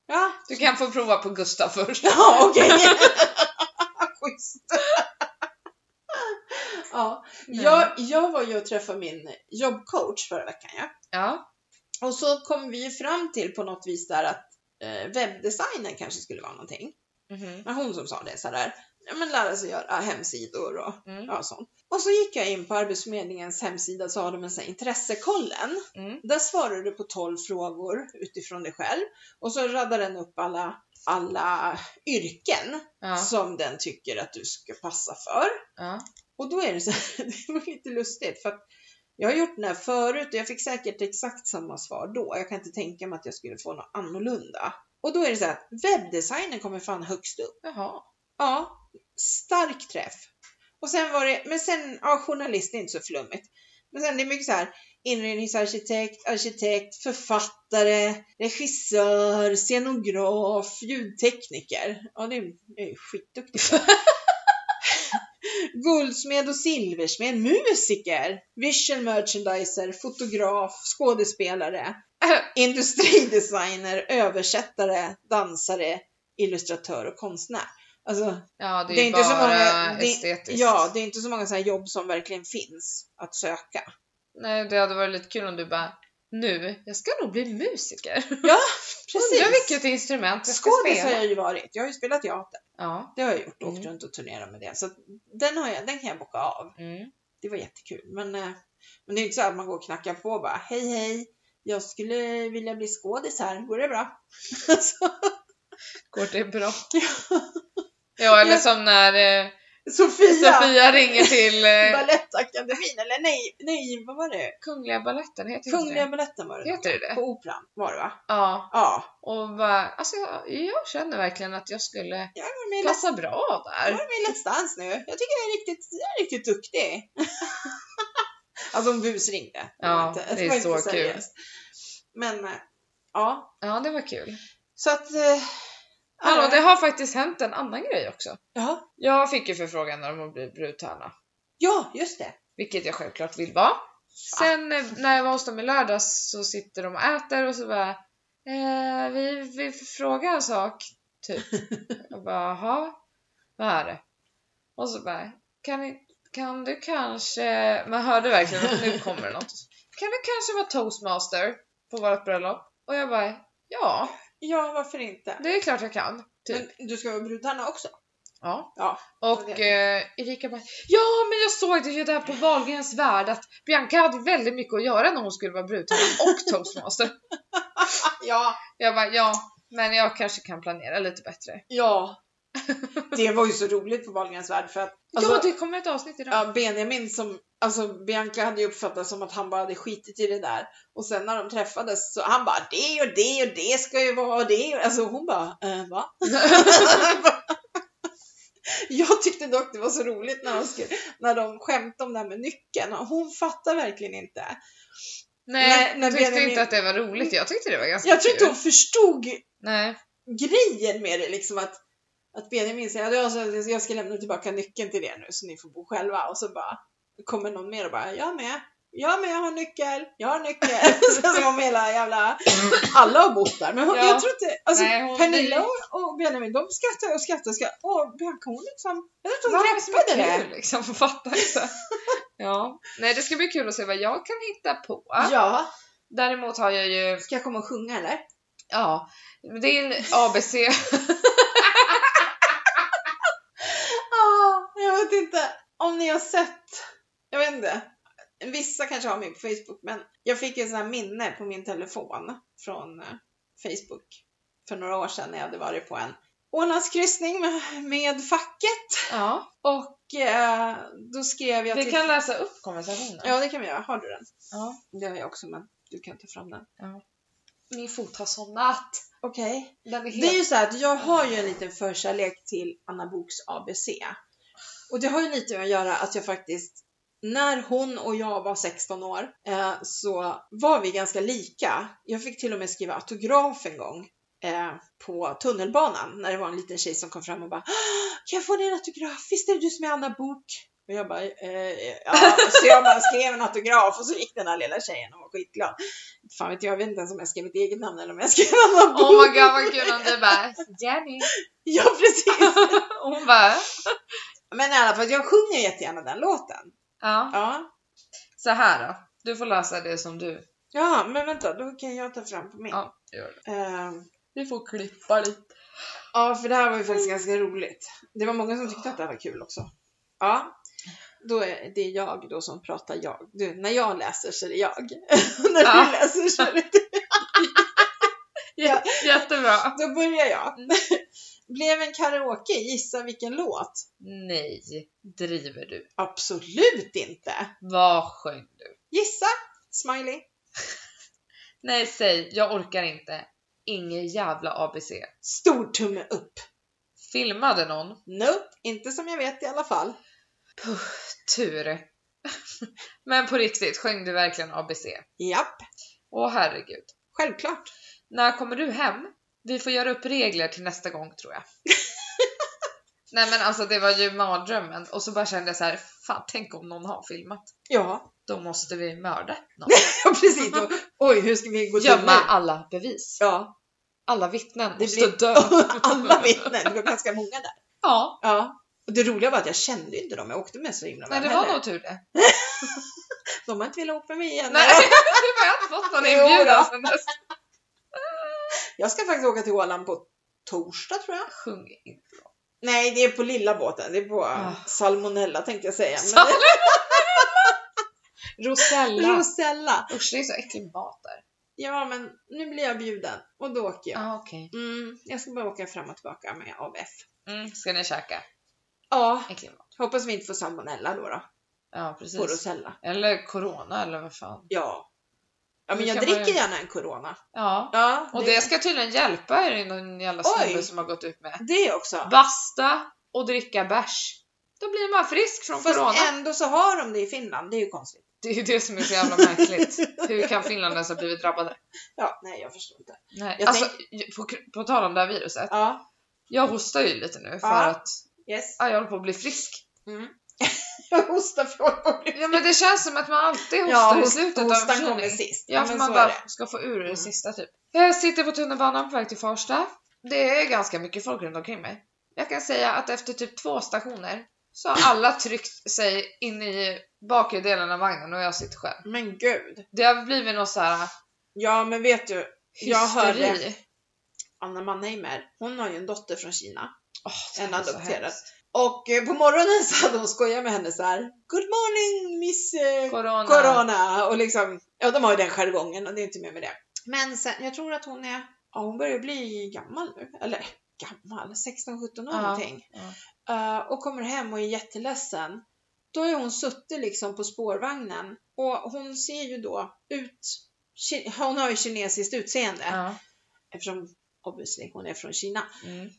[SPEAKER 2] Ja, [laughs]
[SPEAKER 1] Du kan få prova på Gustav först.
[SPEAKER 2] ja okej. Schysst. ja,
[SPEAKER 1] Nej.
[SPEAKER 2] jag, jag var ju och träffade min jobbcoach förra veckan. Ja.
[SPEAKER 1] Ja.
[SPEAKER 2] Och så kom vi ju fram till på något vis där att eh, webbdesignen kanske skulle vara någonting.
[SPEAKER 1] Mhm.
[SPEAKER 2] Men hon som sa det så här, ja, men lära sig göra hemsidor och
[SPEAKER 1] Mm.
[SPEAKER 2] ja, sånt. Och så gick jag in på Arbetsförmedlingens hemsida så har de en sån här intressekollen.
[SPEAKER 1] Mm.
[SPEAKER 2] Där svarar du på 12 frågor utifrån dig själv och så raddar den upp alla, alla yrken
[SPEAKER 1] Ja.
[SPEAKER 2] som den tycker att du ska passa för.
[SPEAKER 1] Ja.
[SPEAKER 2] Och då är det så här, [laughs] det var lite lustigt för att jag har gjort den här förut och jag fick säkert exakt samma svar då. Jag kan inte tänka mig att jag skulle få något annorlunda. Och då är det så här, webbdesignen kommer fan högst upp.
[SPEAKER 1] Jaha.
[SPEAKER 2] Ja, stark träff. Och sen var det, men sen, ja journalist det är inte så flummigt. Men sen det är mycket så här inredningsarkitekt, arkitekt, författare, regissör, scenograf, ljudtekniker. Ja, det är jag är ju skitduktig på. Guldsmed och silversmed, musiker, visual merchandiser, fotograf, skådespelare, [clears throat] industridesigner, översättare, dansare, illustratör och konstnär. Alltså,
[SPEAKER 1] Ja, det är,
[SPEAKER 2] Det är
[SPEAKER 1] ju
[SPEAKER 2] inte
[SPEAKER 1] bara
[SPEAKER 2] så många- det-
[SPEAKER 1] estetiskt.
[SPEAKER 2] Ja, det är inte så många så här jobb som verkligen finns att söka.
[SPEAKER 1] Nej, det hade varit lite kul om du bara nu, jag ska nog bli musiker. Undrar vilket instrument jag ska
[SPEAKER 2] Skådis har
[SPEAKER 1] spela.
[SPEAKER 2] jag ju varit. Jag har ju spelat teater.
[SPEAKER 1] Ja.
[SPEAKER 2] Det har jag gjort. Åkt
[SPEAKER 1] Mm.
[SPEAKER 2] runt och turnerat med det. Så att den, har jag, den kan jag bocka av.
[SPEAKER 1] Mm.
[SPEAKER 2] Det var jättekul. Men, eh, men det är inte så att man går och knackar på och bara hej hej. Jag skulle vilja bli skådis här. Går det bra? [laughs] så,
[SPEAKER 1] Går det bra? [laughs] ja, eller
[SPEAKER 2] Ja.
[SPEAKER 1] som när eh,
[SPEAKER 2] Sofia!
[SPEAKER 1] Sofia ringer till eh,
[SPEAKER 2] Balettakademin. Eller nej, nej, vad var det?
[SPEAKER 1] Kungliga Baletten, heter inte
[SPEAKER 2] Kungliga Baletten var
[SPEAKER 1] det?
[SPEAKER 2] det.
[SPEAKER 1] Heter det det?
[SPEAKER 2] På Operan var det va?
[SPEAKER 1] Ja.
[SPEAKER 2] Ja.
[SPEAKER 1] Och bara, alltså jag, jag känner verkligen att jag skulle
[SPEAKER 2] Jag var med i
[SPEAKER 1] passa bra
[SPEAKER 2] Jag
[SPEAKER 1] där.
[SPEAKER 2] är med i Let's Dance nu. Jag tycker jag är riktigt, jag är riktigt duktig. [laughs] alltså hon busringde. Det var
[SPEAKER 1] Ja,
[SPEAKER 2] inte-
[SPEAKER 1] det är
[SPEAKER 2] var inte
[SPEAKER 1] så kul.
[SPEAKER 2] seriöst. Men eh, ja,
[SPEAKER 1] Ja, det var kul.
[SPEAKER 2] så att... eh,
[SPEAKER 1] Hallå,
[SPEAKER 2] ja.
[SPEAKER 1] det har faktiskt hänt en annan grej också.
[SPEAKER 2] Ja,
[SPEAKER 1] Jag fick ju förfrågan om att bli brudtärna,
[SPEAKER 2] ja, just det.
[SPEAKER 1] vilket jag självklart vill vara. Sen eh, när jag var hos dem i lördags så sitter de och äter och så bara eh, vi vill fråga en sak typ. Jag bara jaha, vad är det? Och så bara kan, ni, kan du kanske, man hörde verkligen att nu kommer det något. Kan du kanske vara toastmaster på vårt bröllop? Och jag bara ja,
[SPEAKER 2] Ja, varför inte?
[SPEAKER 1] det är klart jag kan. Typ.
[SPEAKER 2] Men du ska vara brudtärna också?
[SPEAKER 1] Ja.
[SPEAKER 2] Ja,
[SPEAKER 1] Och
[SPEAKER 2] jag vet.
[SPEAKER 1] eh, Erika bara Ja men jag såg det ju där på Wahlgrens värld att Bianca hade väldigt mycket att göra när hon skulle vara brudtärna och toastmaster.
[SPEAKER 2] Ah, ja,
[SPEAKER 1] Jag bara ja men jag kanske kan planera lite bättre.
[SPEAKER 2] ja. [laughs] Det var ju så roligt på Wahlgrens värld för att alltså,
[SPEAKER 1] ja det kommer ett avsnitt idag.
[SPEAKER 2] ja, Benjamin som, alltså Bianca hade ju uppfattat som att han bara hade skitit i det där och sen när de träffades så han bara det och det och det ska ju vara och det och, alltså hon bara eh, va? [laughs] Jag tyckte dock det var så roligt när de, skulle, när de skämtade om det här med nyckeln och hon fattar verkligen inte.
[SPEAKER 1] Nej,
[SPEAKER 2] Nej, när
[SPEAKER 1] jag tyckte
[SPEAKER 2] Benjamin-
[SPEAKER 1] inte att det var roligt. Jag tyckte det var ganska
[SPEAKER 2] Jag tror inte
[SPEAKER 1] kul.
[SPEAKER 2] hon förstod
[SPEAKER 1] Nej.
[SPEAKER 2] grejen med det liksom att att Benjamin säger att jag, jag ska lämna tillbaka nyckeln till er nu så ni får bo själva och så bara kommer någon mer och bara jag med, jag med, jag har nyckel, jag har nyckel. [laughs] så som om hela jävla, alla har bott där. Men hon,
[SPEAKER 1] Ja.
[SPEAKER 2] jag tror inte, alltså
[SPEAKER 1] Nej, hon-
[SPEAKER 2] Pernilla och, och Benjamin de skrattar och skrattar och skrattar. Åh, Bianca hon liksom, jag tror inte
[SPEAKER 1] Vad
[SPEAKER 2] hon
[SPEAKER 1] är det som är
[SPEAKER 2] greppade det.
[SPEAKER 1] kul liksom? Fattar
[SPEAKER 2] [laughs]
[SPEAKER 1] inte. Ja. Nej det ska bli kul att se vad jag kan hitta på.
[SPEAKER 2] Ja,
[SPEAKER 1] Däremot har jag ju
[SPEAKER 2] ska jag komma och sjunga eller?
[SPEAKER 1] Ja, det är en ABC.
[SPEAKER 2] Ah, jag vet inte om ni har sett, jag vet inte. Vissa kanske har mig på Facebook, men jag fick ju sån här minne på min telefon från eh, Facebook för några år sedan när jag hade varit på en Ålandskryssning med, med facket
[SPEAKER 1] Ja,
[SPEAKER 2] och eh, då skrev jag
[SPEAKER 1] vi kan läsa upp konversationen.
[SPEAKER 2] Ja, det kan vi göra. Har du den?
[SPEAKER 1] Ja.
[SPEAKER 2] Det har jag också, men du kan ta fram den.
[SPEAKER 1] Min fot har somnat.
[SPEAKER 2] Okej.
[SPEAKER 1] Den är helt...
[SPEAKER 2] Det är ju så här att jag har ju en liten förkärlek till Anna Boks ABC. Och det har ju lite med att göra att jag faktiskt, när hon och jag var 16 år, eh, så var vi ganska lika. Jag fick till och med skriva autograf en gång eh, på tunnelbanan när det var en liten tjej som kom fram och bara "Ah, Kan jag få din autograf? Visst är det du som är Anna Bok? Och jag bara, eh, ja. Så jag bara skrev en autograf och så gick den här lilla tjejen och var skitglad. Fan vet jag, jag vet inte ens om jag skrev mitt eget namn eller om jag skrev Anna Bok.
[SPEAKER 1] Oh my god vad kul om du bara Jenny.
[SPEAKER 2] Ja, precis.
[SPEAKER 1] Och hon bara
[SPEAKER 2] Men i alla fall, jag sjunger jättegärna den låten.
[SPEAKER 1] ja.
[SPEAKER 2] Ja.
[SPEAKER 1] Så här då. Du får läsa det som du.
[SPEAKER 2] Ja, men vänta, då kan jag ta fram på min.
[SPEAKER 1] Ja, gör det.
[SPEAKER 2] Ehm,
[SPEAKER 1] Du får klippa lite.
[SPEAKER 2] ja, för det här var ju
[SPEAKER 1] Mm.
[SPEAKER 2] faktiskt ganska roligt. Det var många som tyckte att det här var kul också. Ja, då är det jag då som pratar jag. Du, när jag läser så är det jag. [laughs] när
[SPEAKER 1] Ja.
[SPEAKER 2] du läser så
[SPEAKER 1] [laughs]
[SPEAKER 2] är det du.
[SPEAKER 1] Jättebra.
[SPEAKER 2] Då börjar jag.
[SPEAKER 1] Mm.
[SPEAKER 2] [laughs] Blev en karaoke, gissa vilken låt?
[SPEAKER 1] Nej, driver du?
[SPEAKER 2] Absolut inte!
[SPEAKER 1] Vad sjöng du?
[SPEAKER 2] Gissa! Smiley.
[SPEAKER 1] Nej, säg. Jag orkar inte. Ingen jävla ABC.
[SPEAKER 2] Stor tumme upp.
[SPEAKER 1] Filmade någon?
[SPEAKER 2] Nope, inte som jag vet i alla fall.
[SPEAKER 1] Tur. [laughs] Men på riktigt, sjöng du verkligen ABC?
[SPEAKER 2] Japp,
[SPEAKER 1] Åh herregud.
[SPEAKER 2] självklart.
[SPEAKER 1] När kommer du hem? Vi får göra upp regler till nästa gång tror jag.
[SPEAKER 2] [laughs]
[SPEAKER 1] Nej men alltså det var ju mardrömmen och så bara kände jag så här, fan tänk om någon har filmat.
[SPEAKER 2] Ja,
[SPEAKER 1] Då måste vi mörda
[SPEAKER 2] [laughs]
[SPEAKER 1] någon.
[SPEAKER 2] precis. Då. Oj, hur ska vi gå till
[SPEAKER 1] Gömma
[SPEAKER 2] nu?
[SPEAKER 1] alla bevis.
[SPEAKER 2] Ja,
[SPEAKER 1] Alla vittnen
[SPEAKER 2] Det
[SPEAKER 1] måste
[SPEAKER 2] blir-
[SPEAKER 1] dö.
[SPEAKER 2] [laughs] alla vittnen. Det var ganska många där.
[SPEAKER 1] Ja,
[SPEAKER 2] Ja. Och det roliga var att jag kände ju inte dem. Jag åkte med så himla
[SPEAKER 1] nej det
[SPEAKER 2] väl
[SPEAKER 1] var
[SPEAKER 2] heller.
[SPEAKER 1] nog tur det.
[SPEAKER 2] De har inte velat åka med mig igen.
[SPEAKER 1] Nej, [laughs] du har inte fått någon inbjudan
[SPEAKER 2] Jo
[SPEAKER 1] sen dess.
[SPEAKER 2] Jag ska faktiskt åka till Åland på torsdag tror jag.
[SPEAKER 1] Sjung inte.
[SPEAKER 2] Nej, det är på lilla båten. Det är på eh,
[SPEAKER 1] Ah.
[SPEAKER 2] Salmonella tänkte jag säga. Men
[SPEAKER 1] Salmonella. Rosella.
[SPEAKER 2] Rosella.
[SPEAKER 1] Usch det är så äcklig mat där.
[SPEAKER 2] Ja, men nu blir jag bjuden och då åker jag.
[SPEAKER 1] ah, okej.
[SPEAKER 2] Mm, jag ska bara åka fram och tillbaka med ABF.
[SPEAKER 1] Mm, ska ni käka
[SPEAKER 2] Ja,
[SPEAKER 1] äcklig mat?
[SPEAKER 2] hoppas vi inte får salmonella då. då
[SPEAKER 1] Ja
[SPEAKER 2] på
[SPEAKER 1] precis.
[SPEAKER 2] Rosella.
[SPEAKER 1] Eller corona eller vad fan.
[SPEAKER 2] Ja. Ja, men
[SPEAKER 1] Det
[SPEAKER 2] jag
[SPEAKER 1] kan
[SPEAKER 2] dricker
[SPEAKER 1] vara-
[SPEAKER 2] gärna en Corona.
[SPEAKER 1] Ja.
[SPEAKER 2] Ja,
[SPEAKER 1] Och det ska tydligen hjälpa er i någon jävla
[SPEAKER 2] Oj.
[SPEAKER 1] snubbe som har gått ut med.
[SPEAKER 2] det också.
[SPEAKER 1] Basta och dricka bärs. Då blir man frisk från
[SPEAKER 2] Fast
[SPEAKER 1] corona.
[SPEAKER 2] ändå så har de det i Finland, det är ju konstigt.
[SPEAKER 1] Det är ju det som är så jävla märkligt. Hur kan Finland ens ha blivit drabbade?
[SPEAKER 2] Ja, nej jag förstår inte.
[SPEAKER 1] Nej.
[SPEAKER 2] Jag
[SPEAKER 1] Alltså, på, på tal om det här viruset.
[SPEAKER 2] Ja,
[SPEAKER 1] Jag hostar ju lite nu för
[SPEAKER 2] Ja.
[SPEAKER 1] att
[SPEAKER 2] yes.
[SPEAKER 1] ja, jag håller på att bli frisk.
[SPEAKER 2] Jag hostar för att
[SPEAKER 1] Ja men det känns som att man alltid hostar i slutet av en
[SPEAKER 2] hostan kommer
[SPEAKER 1] förkylning.
[SPEAKER 2] sist.
[SPEAKER 1] Ja, för
[SPEAKER 2] men
[SPEAKER 1] Alltså, man
[SPEAKER 2] så är
[SPEAKER 1] bara
[SPEAKER 2] det.
[SPEAKER 1] ska få ur det
[SPEAKER 2] Mm.
[SPEAKER 1] sista typ. Jag sitter på tunnelbanan på väg till Farsta. Det är ganska mycket folk runt omkring mig. Jag kan säga att efter typ två stationer så har alla
[SPEAKER 2] [laughs]
[SPEAKER 1] tryckt sig in i bakre delen av vagnen och jag sitter själv.
[SPEAKER 2] Men gud.
[SPEAKER 1] Det har blivit någon så här
[SPEAKER 2] Ja, men vet du,
[SPEAKER 1] hysteri.
[SPEAKER 2] Jag hörde- Anna Mannheimer, hon har ju en dotter från Kina.
[SPEAKER 1] Åh,
[SPEAKER 2] En
[SPEAKER 1] det är så
[SPEAKER 2] adopterad.
[SPEAKER 1] hemskt.
[SPEAKER 2] Och eh, på morgonen [laughs] så hade hon skojat med henne så här. Good morning miss eh,
[SPEAKER 1] Corona.
[SPEAKER 2] Corona. Och liksom, ja de har ju den jargongen och det är inte mer med det. Men sen, jag tror att hon är, ja hon börjar bli gammal nu. Eller gammal, 16-17 år
[SPEAKER 1] Ja,
[SPEAKER 2] någonting.
[SPEAKER 1] ja.
[SPEAKER 2] Eh, och kommer hem och är jätteledsen. Då har ju hon suttit liksom på spårvagnen och hon ser ju då ut, ki- hon har ju kinesiskt utseende
[SPEAKER 1] Ja.
[SPEAKER 2] eftersom obviously hon är från Kina.
[SPEAKER 1] Mm.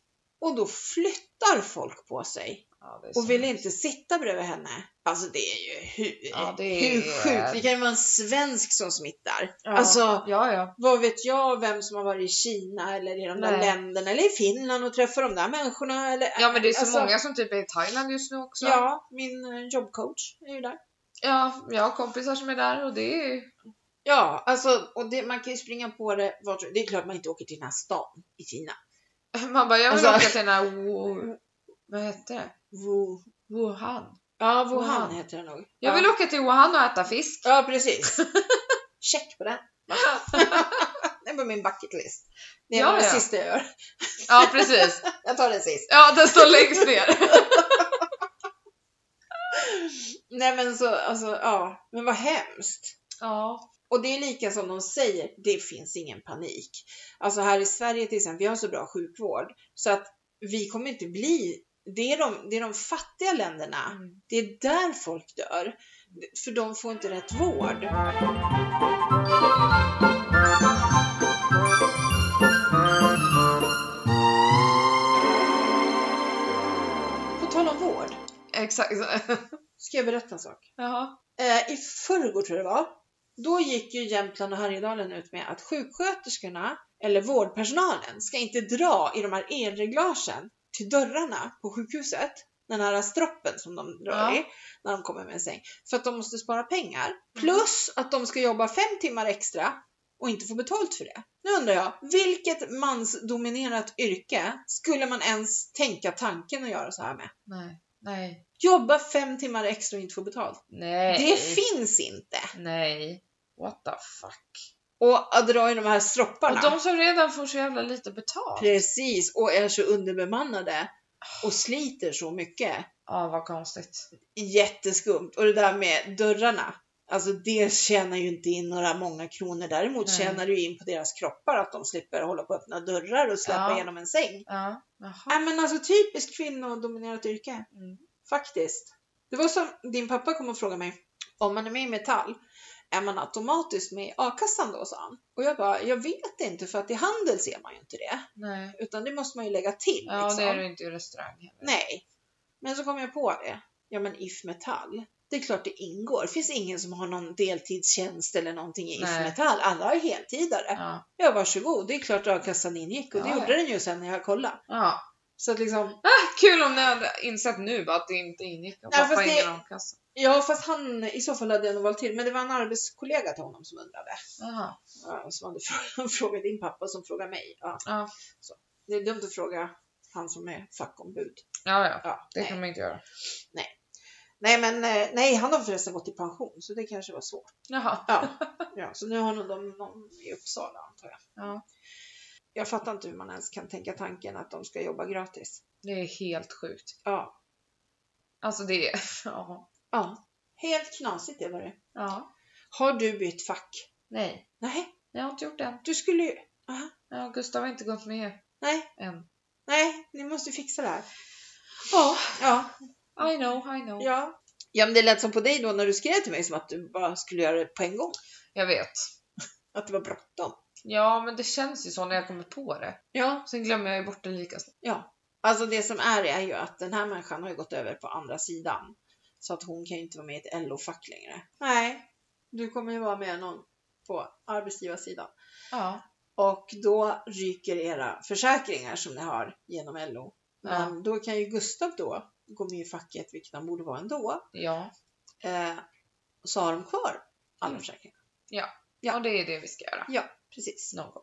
[SPEAKER 2] Och då flyttar folk på sig.
[SPEAKER 1] Ja, det är så
[SPEAKER 2] Och vill
[SPEAKER 1] hemskt.
[SPEAKER 2] inte sitta bredvid henne. Alltså det är ju hur,
[SPEAKER 1] Ja, det
[SPEAKER 2] hur
[SPEAKER 1] är-
[SPEAKER 2] sjukt? Det kan ju vara en svensk som smittar.
[SPEAKER 1] Ja.
[SPEAKER 2] Alltså
[SPEAKER 1] Ja, ja.
[SPEAKER 2] vad vet jag vem som har varit i Kina eller i de där
[SPEAKER 1] Nej.
[SPEAKER 2] länderna eller i Finland och träffar de där människorna. Eller,
[SPEAKER 1] Ja, men det är så
[SPEAKER 2] alltså,
[SPEAKER 1] många som typ är i Thailand just nu också.
[SPEAKER 2] Ja, min eh, jobbcoach är ju där.
[SPEAKER 1] Ja, jag har kompisar som är där och det är...
[SPEAKER 2] Ja, alltså och det, man kan ju springa på det. vart- Det är klart man inte åker till den här stan i Kina.
[SPEAKER 1] Man bara, jag vill
[SPEAKER 2] Alltså-
[SPEAKER 1] åka till den här... Wu- Vad hette det?
[SPEAKER 2] Wu,
[SPEAKER 1] Wuhan.
[SPEAKER 2] ja, Wuhan,
[SPEAKER 1] Wuhan.
[SPEAKER 2] heter det nog.
[SPEAKER 1] Jag
[SPEAKER 2] ja.
[SPEAKER 1] vill åka till Wuhan och äta fisk. [laughs]
[SPEAKER 2] Ja, [laughs] precis. Check på den. Det är på min bucket list. Det är
[SPEAKER 1] Ja,
[SPEAKER 2] ja, det
[SPEAKER 1] ja.
[SPEAKER 2] sista jag gör.
[SPEAKER 1] Ja, precis.
[SPEAKER 2] Jag tar den sist.
[SPEAKER 1] Ja, den står längst ner.
[SPEAKER 2] Nej men så, alltså ja, men vad hemskt.
[SPEAKER 1] Ja.
[SPEAKER 2] Och det är lika som de säger, det finns ingen panik. Alltså här i Sverige till exempel, vi har så bra sjukvård så att vi kommer inte bli, det är de, det är de fattiga länderna,
[SPEAKER 1] Mm.
[SPEAKER 2] det är där folk dör. För de får inte rätt vård. På tal om vård,
[SPEAKER 1] Exakt.
[SPEAKER 2] ska jag berätta en sak.
[SPEAKER 1] Jaha.
[SPEAKER 2] eh, i förrgår tror jag det var, då gick ju Jämtland och Härjedalen ut med att sjuksköterskorna, eller vårdpersonalen, ska inte dra i de här elreglagen till dörrarna på sjukhuset. Den här stroppen som de drar
[SPEAKER 1] Ja.
[SPEAKER 2] i när de kommer med en säng. För att de måste spara pengar. Plus att de ska jobba fem timmar extra och inte få betalt för det. Nu undrar jag, vilket mansdominerat yrke skulle man ens tänka tanken att göra så här med?
[SPEAKER 1] Nej. Nej.
[SPEAKER 2] Jobba fem timmar extra och inte få betalt.
[SPEAKER 1] Nej.
[SPEAKER 2] Det finns inte!
[SPEAKER 1] Nej. What the fuck.
[SPEAKER 2] Och att dra i de här stropparna.
[SPEAKER 1] Och de som redan får så jävla lite betalt.
[SPEAKER 2] Precis, och är så underbemannade och sliter så mycket.
[SPEAKER 1] Ja, vad konstigt.
[SPEAKER 2] Jätteskumt. Och det där med dörrarna. Alltså det tjänar ju inte in några många kronor. Däremot
[SPEAKER 1] Nej.
[SPEAKER 2] tjänar du in på deras kroppar att de slipper hålla på att öppna dörrar och släppa
[SPEAKER 1] Ja.
[SPEAKER 2] igenom en säng.
[SPEAKER 1] Ja. Jaha.
[SPEAKER 2] Nej men alltså typiskt kvinnodominerat yrke.
[SPEAKER 1] Mm.
[SPEAKER 2] Faktiskt. Det var som din pappa kom och frågade mig. Om man är med i Metall, är man automatiskt med i a-kassan då? sa han. Och jag bara, jag vet inte för att i handel ser man ju inte det.
[SPEAKER 1] Nej.
[SPEAKER 2] Utan det måste man ju lägga till.
[SPEAKER 1] Ja,
[SPEAKER 2] liksom.
[SPEAKER 1] det är du inte i restaurang heller.
[SPEAKER 2] Nej. Men så kom jag på det. Ja, men IF Metall. Det är klart det ingår. Det finns ingen som har någon deltidstjänst eller någonting i IF
[SPEAKER 1] Nej.
[SPEAKER 2] Metall. Alla är heltidare.
[SPEAKER 1] Ja.
[SPEAKER 2] Ja, varsågod. Det är klart a-kassan ingick och det
[SPEAKER 1] Ja,
[SPEAKER 2] gjorde den ju sen när jag kollade.
[SPEAKER 1] ja.
[SPEAKER 2] Så att liksom,
[SPEAKER 1] Kul om ni hade insett nu att det inte ingick. Och
[SPEAKER 2] Nej,
[SPEAKER 1] pappa
[SPEAKER 2] fast det-
[SPEAKER 1] ingen omkassa.
[SPEAKER 2] ja fast han, i så fall hade jag nog valt till. Men det var en arbetskollega till honom som undrade.
[SPEAKER 1] Jaha.
[SPEAKER 2] Ja, som hade [laughs] frå- frågat din pappa som frågade mig. Ja.
[SPEAKER 1] Ja.
[SPEAKER 2] Så. Det är dumt att fråga han som är fackombud.
[SPEAKER 1] Ja, ja.
[SPEAKER 2] Ja,
[SPEAKER 1] Det
[SPEAKER 2] nej.
[SPEAKER 1] kan man inte göra.
[SPEAKER 2] Nej, men eh, nej, han har förresten gått i pension så det kanske var svårt.
[SPEAKER 1] Jaha.
[SPEAKER 2] Ja, ja så nu har nog de någon i Uppsala antar jag.
[SPEAKER 1] Ja.
[SPEAKER 2] Jag fattar inte hur man ens kan tänka tanken att de ska jobba gratis.
[SPEAKER 1] Det är helt sjukt.
[SPEAKER 2] Ja,
[SPEAKER 1] Alltså det är... [laughs] Ja.
[SPEAKER 2] ja. helt knasigt det var det.
[SPEAKER 1] ja.
[SPEAKER 2] Har du bytt fack?
[SPEAKER 1] Nej.
[SPEAKER 2] Nej,
[SPEAKER 1] Jag har inte gjort det än.
[SPEAKER 2] du skulle ju...
[SPEAKER 1] Ja, Gustav har inte gått med
[SPEAKER 2] Nej,
[SPEAKER 1] än.
[SPEAKER 2] nej, ni måste fixa det här. Ja, ja,
[SPEAKER 1] I know, I know.
[SPEAKER 2] ja. Ja, men det lät som på dig då när du skrev till mig som att du bara skulle göra det på en gång.
[SPEAKER 1] Jag vet.
[SPEAKER 2] Att det var bråttom.
[SPEAKER 1] Ja, men det känns ju så när jag kommer på det.
[SPEAKER 2] Ja.
[SPEAKER 1] Sen glömmer jag ju bort det lika snabbt.
[SPEAKER 2] Ja, alltså det som är är ju att den här människan har ju gått över på andra sidan. Så att hon kan ju inte vara med i ett LO-fack längre. Nej, du kommer ju vara med någon på arbetsgivarsidan.
[SPEAKER 1] Ja.
[SPEAKER 2] Och då ryker era försäkringar som ni har genom LO. Men
[SPEAKER 1] Ja.
[SPEAKER 2] då kan ju Gustav då gå med i facket, vilket han borde vara ändå.
[SPEAKER 1] Ja.
[SPEAKER 2] Eh, så har de kvar alla
[SPEAKER 1] Mm.
[SPEAKER 2] försäkringar.
[SPEAKER 1] Ja, det är det vi ska göra.
[SPEAKER 2] Precis.
[SPEAKER 1] Någon gång.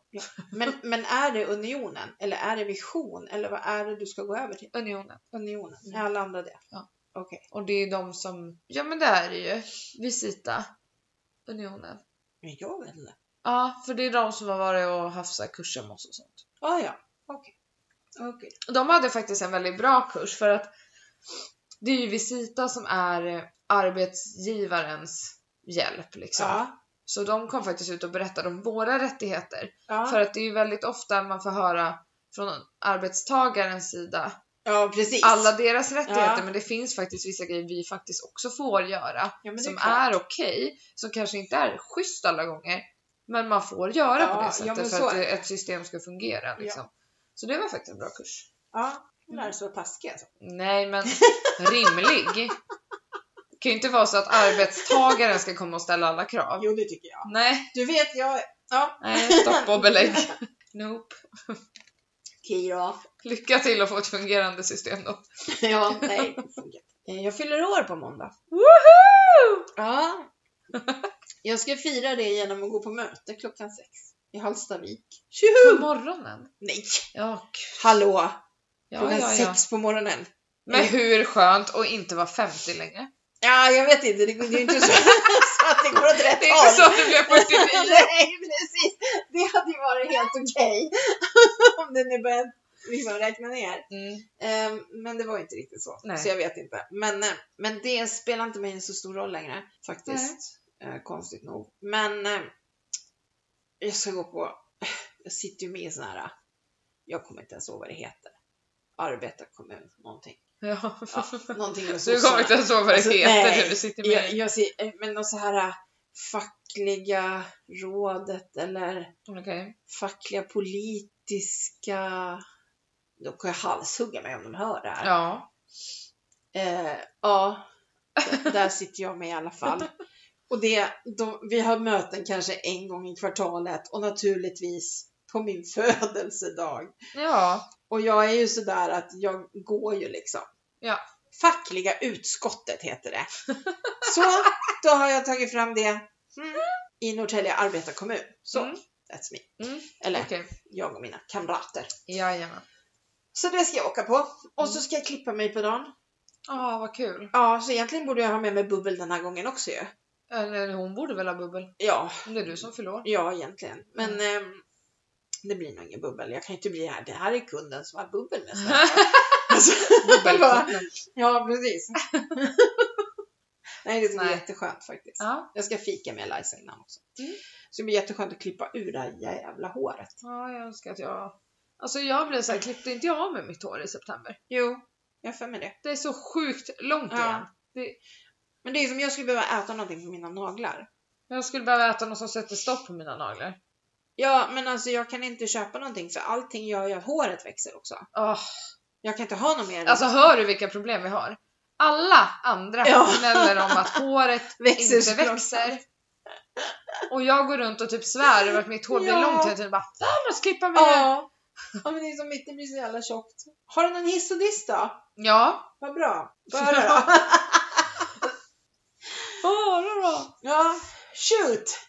[SPEAKER 2] Men, men är det Unionen eller är det Vision eller vad är det du ska gå över till?
[SPEAKER 1] Unionen.
[SPEAKER 2] Unionen,
[SPEAKER 1] Mm.
[SPEAKER 2] är alla andra det?
[SPEAKER 1] Ja.
[SPEAKER 2] Okej.
[SPEAKER 1] Och det är de som... Ja, men det här är ju Visita. Unionen.
[SPEAKER 2] Men jag vet inte.
[SPEAKER 1] Ja, för det är de som har varit och haft så här kurser med oss och sånt.
[SPEAKER 2] Ah, ja, okej. Okej.
[SPEAKER 1] Och de hade faktiskt en väldigt bra kurs för att det är ju Visita som är eh, arbetsgivarens hjälp liksom.
[SPEAKER 2] Ja.
[SPEAKER 1] Så de kom faktiskt ut och berättade om våra rättigheter.
[SPEAKER 2] Ja.
[SPEAKER 1] För att det är ju väldigt ofta man får höra från arbetstagarens sida
[SPEAKER 2] ja, precis.
[SPEAKER 1] alla deras rättigheter
[SPEAKER 2] Ja.
[SPEAKER 1] men det finns faktiskt vissa grejer vi faktiskt också får göra
[SPEAKER 2] ja, men det
[SPEAKER 1] som
[SPEAKER 2] klart.
[SPEAKER 1] är okej, som kanske inte är schysst alla gånger men man får göra
[SPEAKER 2] Ja,
[SPEAKER 1] på
[SPEAKER 2] ja,
[SPEAKER 1] det sättet
[SPEAKER 2] men
[SPEAKER 1] för
[SPEAKER 2] så
[SPEAKER 1] att
[SPEAKER 2] är
[SPEAKER 1] ett system ska fungera. Liksom. Så det var faktiskt en bra kurs.
[SPEAKER 2] Ja, hon är så taskig alltså.
[SPEAKER 1] Nej, men rimlig. Det kan ju inte vara så att arbetstagaren ska komma och ställa alla krav.
[SPEAKER 2] Jo, det tycker jag.
[SPEAKER 1] Nej,
[SPEAKER 2] Du vet, jag... Ja,
[SPEAKER 1] nej stopp och belägg. Nope.
[SPEAKER 2] okej då.
[SPEAKER 1] Lycka till att få ett fungerande system då.
[SPEAKER 2] [laughs] Mm. Ja, nej. det funkar. Eh, Jag fyller år på måndag.
[SPEAKER 1] Woho!
[SPEAKER 2] Ja. Jag ska fira det genom att gå på möte klockan sex i Hallstavik.
[SPEAKER 1] På
[SPEAKER 2] Tjoho!
[SPEAKER 1] morgonen?
[SPEAKER 2] Nej!
[SPEAKER 1] Ja,
[SPEAKER 2] Hallå!
[SPEAKER 1] ja,
[SPEAKER 2] Klockan
[SPEAKER 1] ja, ja.
[SPEAKER 2] sex på morgonen.
[SPEAKER 1] Men hur skönt att inte vara 50 längre.
[SPEAKER 2] Ja, jag vet inte. Det, går- det är inte
[SPEAKER 1] [laughs]
[SPEAKER 2] så, så att det går åt rätt
[SPEAKER 1] Det är inte
[SPEAKER 2] [laughs] håll.
[SPEAKER 1] så att du blev 49.
[SPEAKER 2] [laughs] Nej, precis. Det hade ju varit helt okej. [laughs] Om det nu börjat liksom räkna ner.
[SPEAKER 1] Mm.
[SPEAKER 2] Ehm, men det var ju inte riktigt så.
[SPEAKER 1] Nej.
[SPEAKER 2] Så jag vet inte. Men, eh, men det spelar inte mig en så stor roll längre faktiskt. Eh, konstigt nog. Men eh, jag ska gå på, jag sitter ju med i sån här, eh, jag kommer inte ens ihåg vad det heter. Arbetarkommun, någonting.
[SPEAKER 1] Ja. [laughs]
[SPEAKER 2] Ja, någonting med
[SPEAKER 1] Du kommer
[SPEAKER 2] sossarna.
[SPEAKER 1] inte ens ihåg vad det
[SPEAKER 2] Alltså,
[SPEAKER 1] heter
[SPEAKER 2] nej.
[SPEAKER 1] när du sitter
[SPEAKER 2] jag,
[SPEAKER 1] med.
[SPEAKER 2] jag ser, eh, men någon så här eh, fackliga rådet eller
[SPEAKER 1] Okej.
[SPEAKER 2] fackliga politiska, då kan jag halshugga mig om de hör det här.
[SPEAKER 1] Ja.
[SPEAKER 2] Eh, ja, d- där sitter jag med i alla fall. Och det, de, vi har möten kanske en gång i kvartalet och naturligtvis på min födelsedag.
[SPEAKER 1] Ja.
[SPEAKER 2] Och jag är ju sådär att jag går ju liksom.
[SPEAKER 1] Ja.
[SPEAKER 2] Fackliga utskottet heter det. Så, då har jag tagit fram det mm, i Norrtälje arbetarkommun. Så,
[SPEAKER 1] Mm.
[SPEAKER 2] that's me.
[SPEAKER 1] Mm.
[SPEAKER 2] Eller
[SPEAKER 1] Okej.
[SPEAKER 2] jag och mina kamrater.
[SPEAKER 1] Jajamän.
[SPEAKER 2] Så det ska jag åka på. Och
[SPEAKER 1] Mm.
[SPEAKER 2] så ska jag klippa mig på dagen.
[SPEAKER 1] Ja, vad kul.
[SPEAKER 2] Ja, så egentligen borde jag ha med mig bubbel den här gången också ju.
[SPEAKER 1] Eller hon borde väl ha bubbel?
[SPEAKER 2] Ja,
[SPEAKER 1] Om det är du som fyller år.
[SPEAKER 2] ja egentligen. Men
[SPEAKER 1] Mm.
[SPEAKER 2] ehm, det blir nog ingen bubbel. Jag kan ju inte bli här. Det här är kunden som har bubbel
[SPEAKER 1] [laughs]
[SPEAKER 2] nästa gång. alltså, bara, Ja,
[SPEAKER 1] [laughs]
[SPEAKER 2] precis. Nej, det ska bli
[SPEAKER 1] Nej.
[SPEAKER 2] jätteskönt faktiskt.
[SPEAKER 1] Ja.
[SPEAKER 2] Jag ska fika med Eliza innan också.
[SPEAKER 1] Mm.
[SPEAKER 2] Så det blir jätteskönt att klippa ur det här jävla håret.
[SPEAKER 1] ja, jag önskar att jag... Alltså jag blev såhär, klippte inte jag av mig mitt hår i september?
[SPEAKER 2] Jo, jag har för mig det.
[SPEAKER 1] Det är så sjukt långt
[SPEAKER 2] Ja.
[SPEAKER 1] igen.
[SPEAKER 2] Men det är som jag skulle behöva äta någonting för mina naglar.
[SPEAKER 1] Jag skulle behöva äta något som sätter stopp på mina naglar.
[SPEAKER 2] Ja, men alltså jag kan inte köpa någonting för allting gör ju att håret växer också.
[SPEAKER 1] Åh,
[SPEAKER 2] Jag kan inte ha något mer.
[SPEAKER 1] Alltså hör du vilka problem vi har? Alla andra
[SPEAKER 2] Ja.
[SPEAKER 1] gnäller om att håret
[SPEAKER 2] [laughs] växer
[SPEAKER 1] inte
[SPEAKER 2] såklart.
[SPEAKER 1] växer. Och jag går runt och typ svär över att mitt hår blir
[SPEAKER 2] Ja.
[SPEAKER 1] långt hela tiden. Bara, "Fan, jag ska klippa mig. Ja.
[SPEAKER 2] Ja. [laughs] ja, men det är som mitt, det blir så jävla tjockt. Har du någon hiss och diss då?
[SPEAKER 1] ja.
[SPEAKER 2] Vad bra. Få [laughs] höra då.
[SPEAKER 1] Bara då.
[SPEAKER 2] Ja, shoot.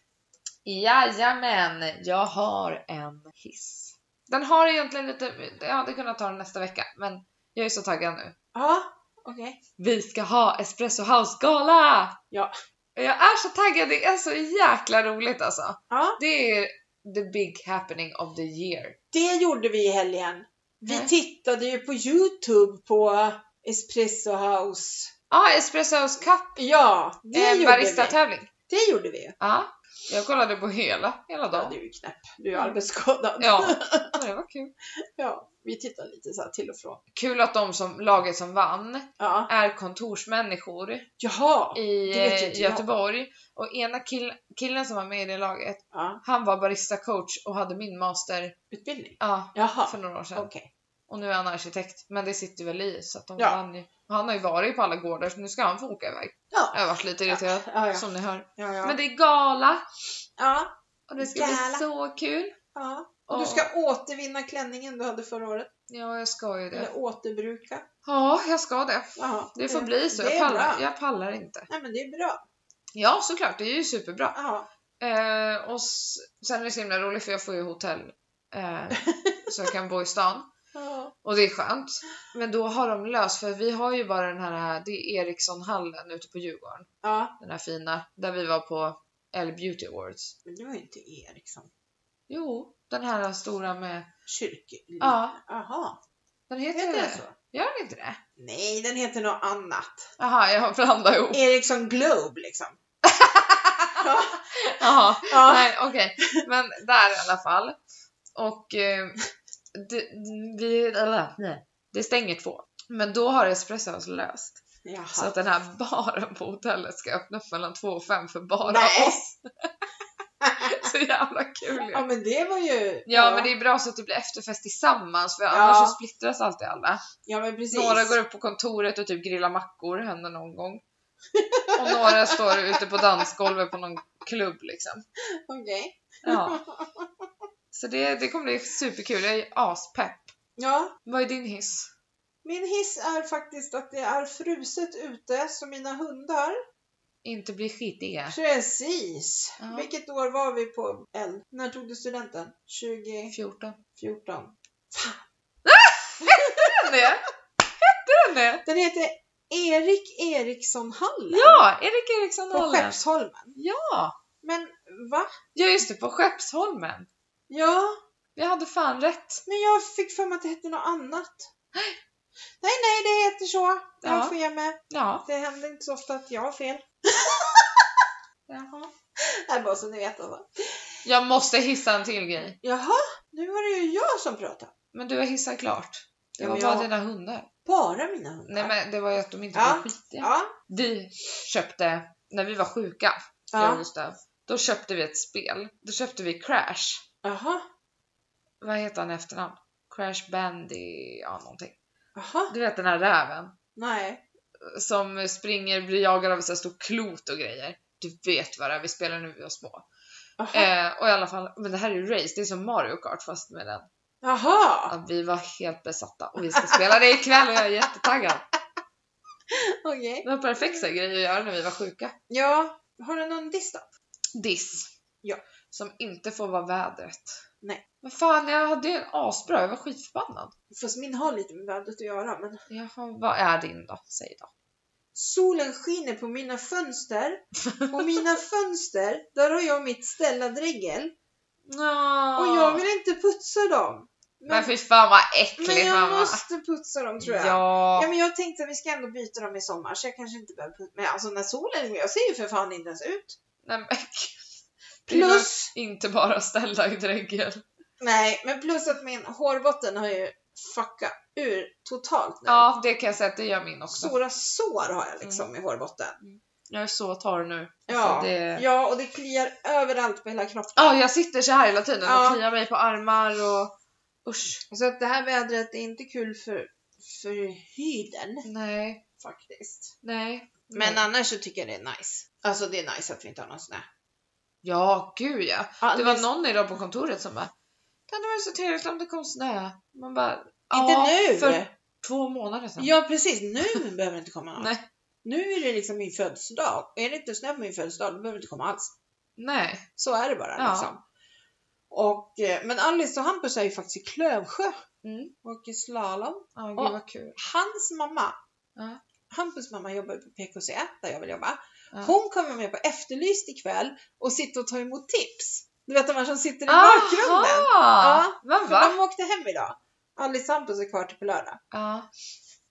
[SPEAKER 1] Jajamän, jag har en hiss. Den har egentligen lite, jag hade kunnat ta den nästa vecka men jag är så taggad nu.
[SPEAKER 2] Ja, okej.
[SPEAKER 1] Vi ska ha Espresso House gala!
[SPEAKER 2] Ja.
[SPEAKER 1] Jag är så taggad, det är så jäkla roligt alltså.
[SPEAKER 2] Ja.
[SPEAKER 1] Det är the big happening of the year.
[SPEAKER 2] Det gjorde vi i helgen. Vi
[SPEAKER 1] Mm.
[SPEAKER 2] tittade ju på YouTube på Espresso House.
[SPEAKER 1] Ja, ah, Espresso House Cup,
[SPEAKER 2] Ja, det
[SPEAKER 1] en
[SPEAKER 2] gjorde vi.
[SPEAKER 1] baristatävling.
[SPEAKER 2] Det gjorde vi.
[SPEAKER 1] Ja, jag kollade på hela, hela
[SPEAKER 2] Ja,
[SPEAKER 1] dagen.
[SPEAKER 2] du är ju knäpp. Du är ju arbetsskadad.
[SPEAKER 1] Mm. Ja, men det var kul.
[SPEAKER 2] Ja, vi tittade lite så här till och från.
[SPEAKER 1] Kul att de som, laget som vann
[SPEAKER 2] Ja.
[SPEAKER 1] är kontorsmänniskor.
[SPEAKER 2] Jaha.
[SPEAKER 1] i
[SPEAKER 2] Det vet
[SPEAKER 1] eh,
[SPEAKER 2] ju inte jag.
[SPEAKER 1] Göteborg och ena kill, killen som var med i det laget,
[SPEAKER 2] Ja,
[SPEAKER 1] han var barista-coach och hade min master
[SPEAKER 2] utbildning.
[SPEAKER 1] ja,
[SPEAKER 2] Jaha,
[SPEAKER 1] för några år sedan.
[SPEAKER 2] okej.
[SPEAKER 1] Och nu är han arkitekt, men det sitter väl i så att de
[SPEAKER 2] Ja.
[SPEAKER 1] vann ju. Och Han har ju varit på alla gårdar så nu ska han få åka iväg.
[SPEAKER 2] Ja.
[SPEAKER 1] Jag har varit lite irriterad
[SPEAKER 2] Ja, ja.
[SPEAKER 1] som ni hör.
[SPEAKER 2] ja, ja.
[SPEAKER 1] Men det är gala
[SPEAKER 2] ja,
[SPEAKER 1] och det ska bli
[SPEAKER 2] Gala.
[SPEAKER 1] så kul.
[SPEAKER 2] ja. Och du
[SPEAKER 1] Ja.
[SPEAKER 2] ska återvinna klänningen du hade förra året.
[SPEAKER 1] Ja, jag ska ju det.
[SPEAKER 2] Eller återbruka.
[SPEAKER 1] Ja, jag ska det.
[SPEAKER 2] Jaha.
[SPEAKER 1] Det får
[SPEAKER 2] Eh,
[SPEAKER 1] bli så.
[SPEAKER 2] Det
[SPEAKER 1] Jag
[SPEAKER 2] är bra.
[SPEAKER 1] pallar, jag pallar inte.
[SPEAKER 2] Nej men det är bra.
[SPEAKER 1] Ja, såklart. Det är ju superbra.
[SPEAKER 2] Ja.
[SPEAKER 1] Eh, och s- sen är det så himla roligt för jag får ju hotell eh,
[SPEAKER 2] [laughs]
[SPEAKER 1] så jag kan bo i stan.
[SPEAKER 2] Ja.
[SPEAKER 1] Och det är skönt. Men då har de löst, för vi har ju bara den här, det är Ericssonhallen ute på Djurgården.
[SPEAKER 2] ja.
[SPEAKER 1] Den här fina, där vi var på L Beauty Awards.
[SPEAKER 2] Men det var ju inte Eriksson.
[SPEAKER 1] Jo, den här stora med,
[SPEAKER 2] Kyrk...
[SPEAKER 1] ja,
[SPEAKER 2] Jaha.
[SPEAKER 1] Den heter,
[SPEAKER 2] Heter den
[SPEAKER 1] det.
[SPEAKER 2] så?
[SPEAKER 1] Gör den inte det?
[SPEAKER 2] Nej, den heter något annat.
[SPEAKER 1] Jaha, jag blandar ihop.
[SPEAKER 2] Ericsson Globe liksom. ja,
[SPEAKER 1] Jaha.
[SPEAKER 2] ja.
[SPEAKER 1] Nej, okej. Men där i alla fall. Och eh, det, vi, eller, nej. det stänger två. Men då har Espressos löst. Så
[SPEAKER 2] Jaha.
[SPEAKER 1] att den här baren på hotellet ska öppnas mellan två och fem för bara
[SPEAKER 2] Nej.
[SPEAKER 1] oss. [laughs] Så jävla kul ju.
[SPEAKER 2] Ja men det var ju...
[SPEAKER 1] Ja men det är bra så att det blir efterfest tillsammans för
[SPEAKER 2] Ja.
[SPEAKER 1] annars så splittras alltid alla.
[SPEAKER 2] ja, men precis.
[SPEAKER 1] Några går upp på kontoret och typ grillar mackor, händer någon gång. Och några står ute på dansgolvet på någon klubb liksom.
[SPEAKER 2] Okej.
[SPEAKER 1] Ja. [laughs] Så det, det kommer bli superkul, jag är aspepp.
[SPEAKER 2] Ja,
[SPEAKER 1] Vad är din hiss?
[SPEAKER 2] min hiss är faktiskt att det är fruset ute så mina hundar.
[SPEAKER 1] Inte bli skitiga.
[SPEAKER 2] Precis.
[SPEAKER 1] Ja.
[SPEAKER 2] Vilket år var vi på L? När tog du studenten?
[SPEAKER 1] 14.
[SPEAKER 2] 2014.
[SPEAKER 1] Hette den det? Hette den det?
[SPEAKER 2] Den heter Erik Eriksson-hallen
[SPEAKER 1] Ja, Erik Eriksson
[SPEAKER 2] på
[SPEAKER 1] Hallen.
[SPEAKER 2] Skeppsholmen.
[SPEAKER 1] Ja,
[SPEAKER 2] Men va?
[SPEAKER 1] ja just det, på Skeppsholmen.
[SPEAKER 2] Ja,
[SPEAKER 1] Jag hade fan rätt.
[SPEAKER 2] men jag fick för mig att det hette något annat. Nej, nej, det heter så. Jag
[SPEAKER 1] Ja.
[SPEAKER 2] får ge mig.
[SPEAKER 1] Ja.
[SPEAKER 2] Det händer inte så ofta att jag har fel.
[SPEAKER 1] Jaha.
[SPEAKER 2] Det är bara så ni vet alltså.
[SPEAKER 1] Jag måste hissa en till grej.
[SPEAKER 2] Jaha, nu var det ju jag som pratade.
[SPEAKER 1] Men du har hissat klart. Det
[SPEAKER 2] Ja,
[SPEAKER 1] var
[SPEAKER 2] men
[SPEAKER 1] bara
[SPEAKER 2] jag-
[SPEAKER 1] dina hundar.
[SPEAKER 2] Bara mina hundar.
[SPEAKER 1] Nej men det var ju att de inte
[SPEAKER 2] Ja.
[SPEAKER 1] blev skitiga.
[SPEAKER 2] Ja,
[SPEAKER 1] Vi köpte, när vi var sjuka, ja.
[SPEAKER 2] ja.
[SPEAKER 1] just det, då köpte vi ett spel. Då köpte vi Crash.
[SPEAKER 2] Jaha,
[SPEAKER 1] Vad heter han i efternamn? Crash Bandy, ja någonting.
[SPEAKER 2] jaha,
[SPEAKER 1] Du vet den här räven
[SPEAKER 2] nej.
[SPEAKER 1] som springer, blir jagad av en sån här stor klot och grejer. Du vet vad det är, vi spelar när vi var små.
[SPEAKER 2] Jaha,
[SPEAKER 1] Eh, och i alla fall, men det här är ju race, det är som Mario Kart fast med den.
[SPEAKER 2] jaha.
[SPEAKER 1] Ja, vi var helt besatta och vi
[SPEAKER 2] [laughs]
[SPEAKER 1] ska spela det ikväll och jag är jättetaggad.
[SPEAKER 2] okej.
[SPEAKER 1] Det var perfekta grejer att göra när vi var sjuka.
[SPEAKER 2] Ja, har du någon diss då?
[SPEAKER 1] Diss.
[SPEAKER 2] Ja.
[SPEAKER 1] Som inte får vara vädret.
[SPEAKER 2] Nej.
[SPEAKER 1] Men fan, jag hade ju en asbra, jag var skitförbannad.
[SPEAKER 2] Fast min har lite med vädret att göra. Men
[SPEAKER 1] Jaha, vad är din då? Säg då.
[SPEAKER 2] solen skiner på mina fönster och mina fönster, där har jag mitt ställadregel och jag vill inte putsa dem.
[SPEAKER 1] Men, fy fan vad äckligt
[SPEAKER 2] men jag
[SPEAKER 1] mamma.
[SPEAKER 2] måste putsa dem tror jag. Ja.
[SPEAKER 1] Ja.
[SPEAKER 2] men jag tänkte att vi ska ändå byta dem i sommar så jag kanske inte behöver putsa. Men alltså när solen är jag ser ju för fan inte ens ut.
[SPEAKER 1] Nej, men,
[SPEAKER 2] Plus,
[SPEAKER 1] Inte bara ställa i dräggen.
[SPEAKER 2] nej, men plus att min hårbotten har ju fuckat ur totalt nu.
[SPEAKER 1] Ja, det kan jag säga att det gör min också.
[SPEAKER 2] Stora sår har jag liksom i hårbotten.
[SPEAKER 1] Jag är så torr nu.
[SPEAKER 2] Ja,
[SPEAKER 1] Alltså, det...
[SPEAKER 2] ja, och det kliar överallt på hela kroppen.
[SPEAKER 1] Ja, jag sitter så här hela tiden
[SPEAKER 2] Ja.
[SPEAKER 1] och kliar mig på armar och usch.
[SPEAKER 2] Så att det här vädret är inte kul för, för huden
[SPEAKER 1] Nej,
[SPEAKER 2] faktiskt.
[SPEAKER 1] nej.
[SPEAKER 2] Men äh-
[SPEAKER 1] nej.
[SPEAKER 2] annars så tycker jag det är nice. Alltså det är nice att vi inte har någon snö. Alltså,
[SPEAKER 1] Ja, gud ja. Det var
[SPEAKER 2] Alldeles-
[SPEAKER 1] någon idag på kontoret som bara Det hade varit så trevligt om det kom snö. Man bara
[SPEAKER 2] Inte
[SPEAKER 1] "Ja,
[SPEAKER 2] nu!
[SPEAKER 1] För två månader sedan.
[SPEAKER 2] Ja precis, nu behöver det inte komma någon.
[SPEAKER 1] Nej.
[SPEAKER 2] Nu är det liksom min födelsedag. Är det inte snö på min födelsedag, då behöver det inte komma alls.
[SPEAKER 1] Nej.
[SPEAKER 2] Så är det bara
[SPEAKER 1] Ja.
[SPEAKER 2] liksom. Och, eh, men Alice och Hampus är ju faktiskt i Klövsjö
[SPEAKER 1] Mm.
[SPEAKER 2] och åker slalom.
[SPEAKER 1] Ja, gud
[SPEAKER 2] Och-
[SPEAKER 1] vad kul.
[SPEAKER 2] Hans mamma,
[SPEAKER 1] Ja.
[SPEAKER 2] Hampus mamma jobbar ju på PKC där jag vill jobba.
[SPEAKER 1] Ja.
[SPEAKER 2] Hon kommer med på Efterlyst ikväll och sitter och tar emot tips. Du vet de här som sitter i
[SPEAKER 1] Aha!
[SPEAKER 2] bakgrunden.
[SPEAKER 1] Ja,
[SPEAKER 2] För
[SPEAKER 1] vad va?
[SPEAKER 2] de åkte hem idag. Alice och Hampus är kvar till på lördag.
[SPEAKER 1] Ja.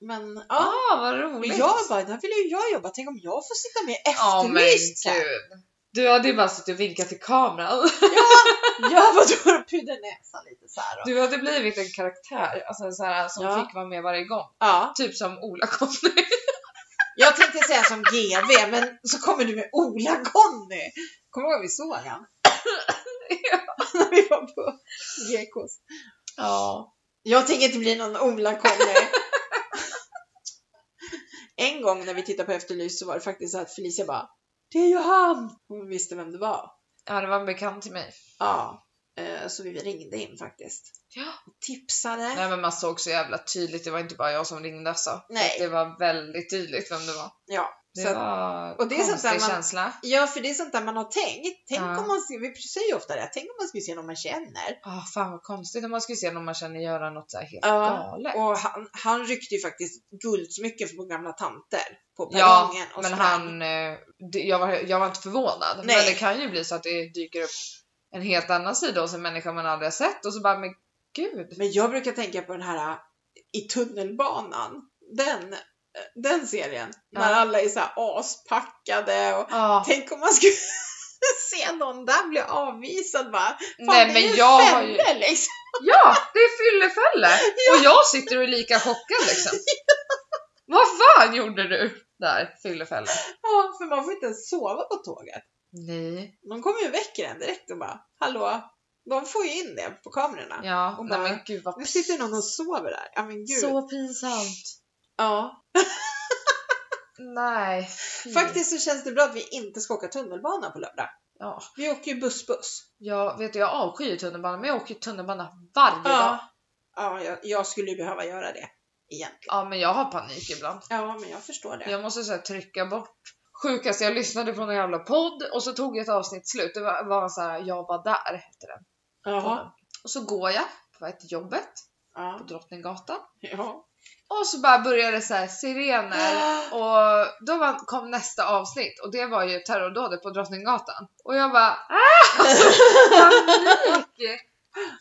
[SPEAKER 2] Men ja.
[SPEAKER 1] Ah, vad
[SPEAKER 2] Och
[SPEAKER 1] roligt.
[SPEAKER 2] jag bara, där vill ju jag jobba. Tänk om jag får sitta med i
[SPEAKER 1] Ja men
[SPEAKER 2] Efterlyst sen.
[SPEAKER 1] gud. Du hade ju bara suttit och vinkat till kameran.
[SPEAKER 2] [laughs]
[SPEAKER 1] [laughs]
[SPEAKER 2] Jag var då och pudde näsan lite så här. Och,
[SPEAKER 1] Du hade blivit en karaktär alltså en så här, som
[SPEAKER 2] Ja.
[SPEAKER 1] fick vara med varje gång.
[SPEAKER 2] ja.
[SPEAKER 1] Typ som Ola kom [laughs] nu.
[SPEAKER 2] Jag tänkte säga som GV men så kommer du med Ola-Conny. Kommer du ihåg vi såg [laughs] han? [laughs] När vi var på GKs.
[SPEAKER 1] Ja.
[SPEAKER 2] Jag tänker inte bli någon Ola-Conny. [laughs] en gång när vi tittade på Efterlyst så var det faktiskt så att Felicia bara Det är ju han! Hon visste vem det var.
[SPEAKER 1] ja, det var en bekant till mig.
[SPEAKER 2] Ja, eh, så vi ringde in faktiskt.
[SPEAKER 1] Ja.
[SPEAKER 2] Och tipsade.
[SPEAKER 1] Nej men man såg så jävla tydligt, det var inte bara jag som ringde alltså.
[SPEAKER 2] Nej.
[SPEAKER 1] Det var väldigt tydligt vem det var.
[SPEAKER 2] Ja,
[SPEAKER 1] Det
[SPEAKER 2] så att,
[SPEAKER 1] var
[SPEAKER 2] och det är sånt
[SPEAKER 1] konstig
[SPEAKER 2] där man-
[SPEAKER 1] känsla.
[SPEAKER 2] ja, för det är sånt där man har tänkt. Tänk
[SPEAKER 1] Ja.
[SPEAKER 2] om man, ser- vi säger ju ofta det, tänk om man skulle se någon man känner.
[SPEAKER 1] Ah, fan vad konstigt om man skulle se någon man känner göra något så här helt
[SPEAKER 2] Ja.
[SPEAKER 1] galet.
[SPEAKER 2] Och han, han ryckte ju faktiskt guldsmycken på gamla tanter på
[SPEAKER 1] Ja,
[SPEAKER 2] perrongen. och
[SPEAKER 1] Men
[SPEAKER 2] sprang.
[SPEAKER 1] han, eh, det- jag var, jag var inte förvånad. Men
[SPEAKER 2] Nej.
[SPEAKER 1] det kan ju bli så att det dyker upp en helt annan sida hos en människa man aldrig har sett och så bara, men gud.
[SPEAKER 2] Men jag brukar tänka på den här äh, i tunnelbanan. Den, äh, den serien. När alla är så här aspackade och
[SPEAKER 1] Ja.
[SPEAKER 2] tänk om man skulle [laughs] se någon där bli avvisad bara. Fan,
[SPEAKER 1] Nej,
[SPEAKER 2] det är
[SPEAKER 1] men
[SPEAKER 2] ju en
[SPEAKER 1] jag har ju-
[SPEAKER 2] fälla liksom.
[SPEAKER 1] Ja, det är fyllefälle! Och jag sitter och är lika chockad
[SPEAKER 2] [laughs]
[SPEAKER 1] liksom. Vad fan gjorde du där, fyllefälle?
[SPEAKER 2] Ja, för man får inte ens sova på tåget.
[SPEAKER 1] Nej.
[SPEAKER 2] De kommer ju och väcker en direkt och bara hallå. De får ju in det på kamerorna.
[SPEAKER 1] Ja,
[SPEAKER 2] Och
[SPEAKER 1] nej
[SPEAKER 2] bara,
[SPEAKER 1] men gud vad
[SPEAKER 2] Nu sitter någon och sover där. Ja men gud.
[SPEAKER 1] Så pinsamt.
[SPEAKER 2] Ja.
[SPEAKER 1] Nej. fy.
[SPEAKER 2] Faktiskt så känns det bra att vi inte ska åka tunnelbana på lördag.
[SPEAKER 1] Ja,
[SPEAKER 2] Vi åker ju buss-buss.
[SPEAKER 1] jag vet du, jag avskyr tunnelbana, men jag åker tunnelbana varje dag.
[SPEAKER 2] Ja, ja jag, jag skulle ju behöva göra det egentligen.
[SPEAKER 1] Ja, men jag har panik ibland.
[SPEAKER 2] Ja, men jag förstår det.
[SPEAKER 1] Jag måste så här, trycka bort. Sjukaste, jag lyssnade på någon jävla podd och så tog jag ett avsnitt slut. Det var, var så här, jag var där hette den.
[SPEAKER 2] Jaha.
[SPEAKER 1] podden. Och så går jag på ett till jobbet på
[SPEAKER 2] Ja.
[SPEAKER 1] Drottninggatan
[SPEAKER 2] ja.
[SPEAKER 1] och så bara började det så här sirener
[SPEAKER 2] [gasps]
[SPEAKER 1] och då var, kom nästa avsnitt och det var ju terrordådet på Drottninggatan och jag bara ah!
[SPEAKER 2] [laughs]
[SPEAKER 1] Alltså, panik!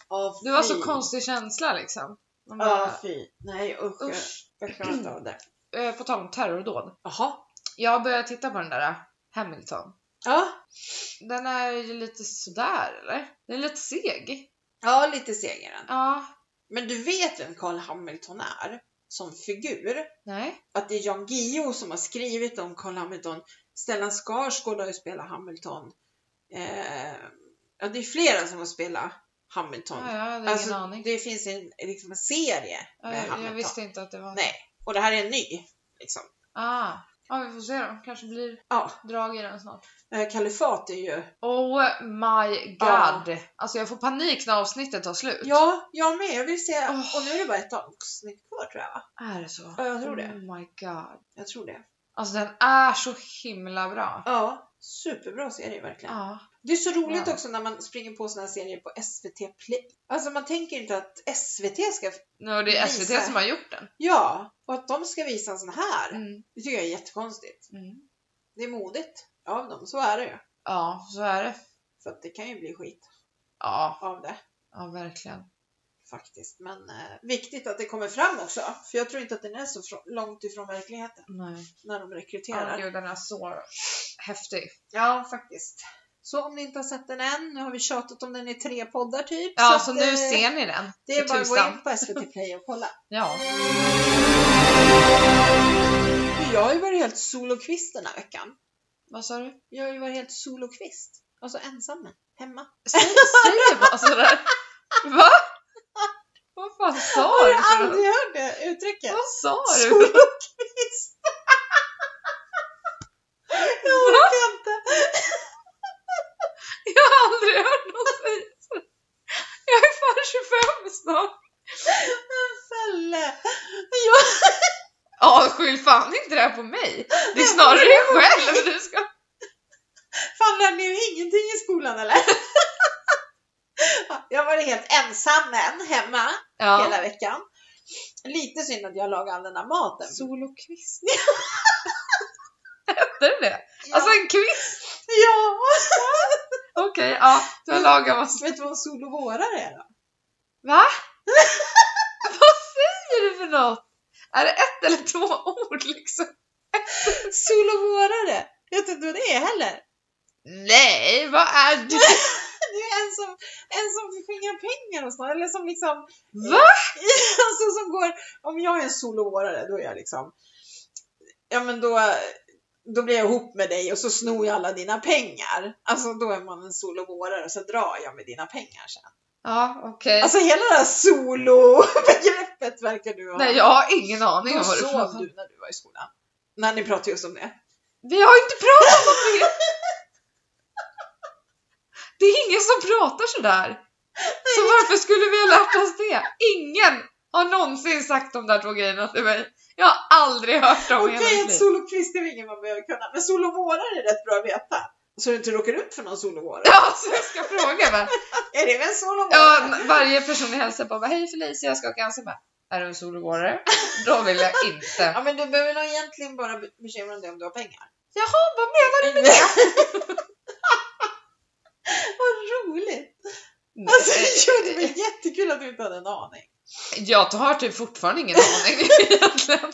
[SPEAKER 2] Ja,
[SPEAKER 1] Det var så
[SPEAKER 2] fy.
[SPEAKER 1] konstig känsla liksom. Man bara,
[SPEAKER 2] Ja, fy. Nej usch.
[SPEAKER 1] usch.
[SPEAKER 2] Jag klarar inte av det.
[SPEAKER 1] Eh, På tal om terrordåd.
[SPEAKER 2] Jaha.
[SPEAKER 1] Jag började titta på den där Hamilton.
[SPEAKER 2] Ja.
[SPEAKER 1] Den är ju lite sådär eller? Den är lite seg.
[SPEAKER 2] ja, lite seg är den.
[SPEAKER 1] Ja.
[SPEAKER 2] Men du vet vem Carl Hamilton är som figur?
[SPEAKER 1] Nej.
[SPEAKER 2] Att det är Jan Guillou som har skrivit om Carl Hamilton. Stellan Skarsgård har ju spelat Hamilton. Eh, ja, det är flera som har spelat Hamilton.
[SPEAKER 1] Ja, jag hade
[SPEAKER 2] Alltså,
[SPEAKER 1] ingen aning.
[SPEAKER 2] det finns en, liksom en serie
[SPEAKER 1] Ja,
[SPEAKER 2] med
[SPEAKER 1] jag, jag
[SPEAKER 2] Hamilton.
[SPEAKER 1] visste inte att det var...
[SPEAKER 2] Nej. Och det här är en ny. Liksom.
[SPEAKER 1] Ah. Ja, vi får se då. Kanske blir
[SPEAKER 2] Ja,
[SPEAKER 1] drag i den snart.
[SPEAKER 2] eh, kalifat är ju...
[SPEAKER 1] Oh my
[SPEAKER 2] Ja.
[SPEAKER 1] god. Alltså jag får panik när avsnittet tar slut.
[SPEAKER 2] Ja, jag med. Jag vill se...
[SPEAKER 1] Åh.
[SPEAKER 2] Och nu är det bara ett avsnitt kvar tror jag va?
[SPEAKER 1] Är det så?
[SPEAKER 2] Ja, jag tror det.
[SPEAKER 1] Oh my god.
[SPEAKER 2] Jag tror det.
[SPEAKER 1] Alltså den är så himla bra.
[SPEAKER 2] Ja, superbra serie verkligen.
[SPEAKER 1] Ja.
[SPEAKER 2] Det är så roligt
[SPEAKER 1] Ja.
[SPEAKER 2] också när man springer på såna här serier på SVT Play. Alltså man tänker inte att SVT ska...
[SPEAKER 1] Nu är det
[SPEAKER 2] Visa.
[SPEAKER 1] är SVT som har gjort den.
[SPEAKER 2] Ja, och att de ska visa en sån här.
[SPEAKER 1] Mm.
[SPEAKER 2] Det tycker jag är jättekonstigt.
[SPEAKER 1] Mm.
[SPEAKER 2] Det är modigt av dem, så är det ju.
[SPEAKER 1] Ja, så är det.
[SPEAKER 2] För att det kan ju bli skit
[SPEAKER 1] Ja,
[SPEAKER 2] av det.
[SPEAKER 1] ja verkligen.
[SPEAKER 2] faktiskt. Men eh, viktigt att det kommer fram också. För jag tror inte att den är så frå- långt ifrån verkligheten
[SPEAKER 1] Nej.
[SPEAKER 2] när de
[SPEAKER 1] Ja,
[SPEAKER 2] rekryterar.
[SPEAKER 1] gud, den är så häftig.
[SPEAKER 2] ja, faktiskt. Så om ni inte har sett den än, nu har vi tjatat om den i tre poddar typ.
[SPEAKER 1] Ja,
[SPEAKER 2] att,
[SPEAKER 1] så nu
[SPEAKER 2] eh,
[SPEAKER 1] ser ni den.
[SPEAKER 2] Det är
[SPEAKER 1] för
[SPEAKER 2] bara att gå
[SPEAKER 1] tusan.
[SPEAKER 2] in på
[SPEAKER 1] [laughs]
[SPEAKER 2] SVT Play och kolla.
[SPEAKER 1] Ja.
[SPEAKER 2] Jag har ju varit helt solokvist den här veckan.
[SPEAKER 1] Vad sa du?
[SPEAKER 2] Jag har ju varit helt solokvist. Alltså ensam. Hemma.
[SPEAKER 1] Säg, säg bara sådär. Va? Vad fan sa du?
[SPEAKER 2] Har du
[SPEAKER 1] för något?
[SPEAKER 2] aldrig hört det [laughs] uttrycket?
[SPEAKER 1] Vad sa du?
[SPEAKER 2] Solokvist! jag orkar inte.
[SPEAKER 1] Jag har aldrig hört någon säga sådär. Jag är fan 25 snart.
[SPEAKER 2] Fälle.
[SPEAKER 1] Ja, skyll fan inte det här på mig. Det är snarare dig själv du ska...
[SPEAKER 2] Fan, lärde ni er ingenting i skolan eller? [laughs] Ja, jag var helt ensam men hemma
[SPEAKER 1] Ja.
[SPEAKER 2] hela veckan. Lite synd att jag lagade all den här maten.
[SPEAKER 1] [laughs] Solokvist. Hette det det? Alltså en kvist?
[SPEAKER 2] ja,
[SPEAKER 1] Okej, ja. Du har lagat massa...
[SPEAKER 2] vet du vad en solovårare är då?
[SPEAKER 1] Va? Vad säger du för något? Är det ett eller två ord liksom?
[SPEAKER 2] Solovårare! Vet du inte vad det är heller?
[SPEAKER 1] Nej, vad är du?
[SPEAKER 2] Det är en som, en som förskingrar pengar och sånt, eller som liksom,
[SPEAKER 1] Va?
[SPEAKER 2] [laughs] alltså som går, om jag är en solovårare då är jag liksom, ja men då, då blir jag ihop med dig och så snor jag alla dina pengar. Alltså då är man en solovårare och så drar jag med dina pengar sen.
[SPEAKER 1] Ja, okej.
[SPEAKER 2] Alltså hela det här solo-begreppet verkar du ha.
[SPEAKER 1] Nej, jag har ingen aning
[SPEAKER 2] Då
[SPEAKER 1] om vad du
[SPEAKER 2] sov
[SPEAKER 1] pratar om.
[SPEAKER 2] du när du var i skolan. När ni pratade just om det.
[SPEAKER 1] Vi har inte pratat om det! Det är ingen som pratar sådär. Så varför skulle vi ha lärt oss det? Ingen har någonsin sagt de där två grejerna till mig. Jag har aldrig hört dem i
[SPEAKER 2] Okej,
[SPEAKER 1] hela mitt
[SPEAKER 2] ett
[SPEAKER 1] liv.
[SPEAKER 2] solokvist är väl ingen man behöver kunna, men solovårare är rätt bra att veta. Så du inte råkar ut för någon solovårare.
[SPEAKER 1] Ja, så jag ska fråga men.
[SPEAKER 2] Är det väl en solovårare?
[SPEAKER 1] Ja, varje person jag hälsar på bara hej Felicia, jag ska ha cancer med. Är du en solovårdare? Då vill jag inte.
[SPEAKER 2] Ja, men du behöver nog egentligen bara be- bekymra dig om du har pengar.
[SPEAKER 1] Jaha, vad menar du?
[SPEAKER 2] [laughs] Vad roligt!
[SPEAKER 1] Nej. Mm. [laughs]
[SPEAKER 2] Alltså, jo, det var jättekul att du inte hade en aning.
[SPEAKER 1] Jag har typ fortfarande ingen aning egentligen.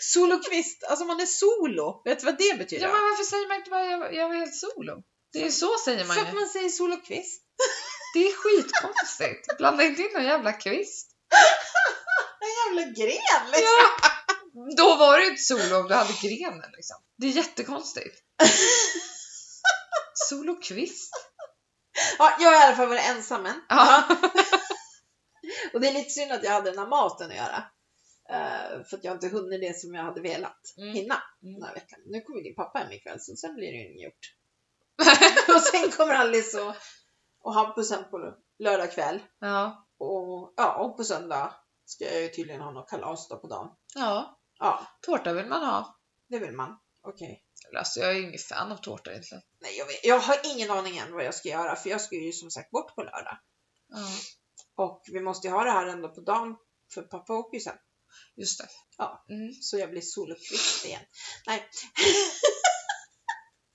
[SPEAKER 2] Solokvist, alltså man är solo. Vet du vad det betyder?
[SPEAKER 1] Ja, men varför säger man inte bara jag, jag var helt solo? Det är så säger man
[SPEAKER 2] För att
[SPEAKER 1] ju.
[SPEAKER 2] man säger solokvist.
[SPEAKER 1] Det är [laughs] skitkonstigt. Blanda inte in någon jävla kvist.
[SPEAKER 2] En jävla gren liksom.
[SPEAKER 1] Ja. Då var det ju inte solo om du hade grenen liksom. Det är jättekonstigt. [laughs] Sol och kvist.
[SPEAKER 2] Ja, jag har i alla fall varit ensam än.
[SPEAKER 1] Ja.
[SPEAKER 2] [laughs] Och det är lite synd att jag hade den här maten att göra. Eh, för att jag inte hunnit det som jag hade velat
[SPEAKER 1] Mm.
[SPEAKER 2] hinna
[SPEAKER 1] Mm.
[SPEAKER 2] den här veckan. Nu kommer din pappa hem ikväll så sen blir det ju inget [laughs] gjort. och sen kommer Alice och, och Hampus hem på lördag kväll.
[SPEAKER 1] Ja.
[SPEAKER 2] Och, ja, och på söndag ska jag ju tydligen ha något kalas då på dagen.
[SPEAKER 1] ja.
[SPEAKER 2] Ja,
[SPEAKER 1] Tårta vill man ha.
[SPEAKER 2] det vill man. Okej.
[SPEAKER 1] Alltså jag är ju ingen fan av tårta egentligen.
[SPEAKER 2] Nej, jag, vet, jag har ingen aning än vad jag ska göra för jag ska ju som sagt bort på lördag.
[SPEAKER 1] Ja.
[SPEAKER 2] Och vi måste ju ha det här ändå på dagen för pappa åker ju sen.
[SPEAKER 1] Just det.
[SPEAKER 2] Ja.
[SPEAKER 1] Mm.
[SPEAKER 2] Så jag blir solokvist igen.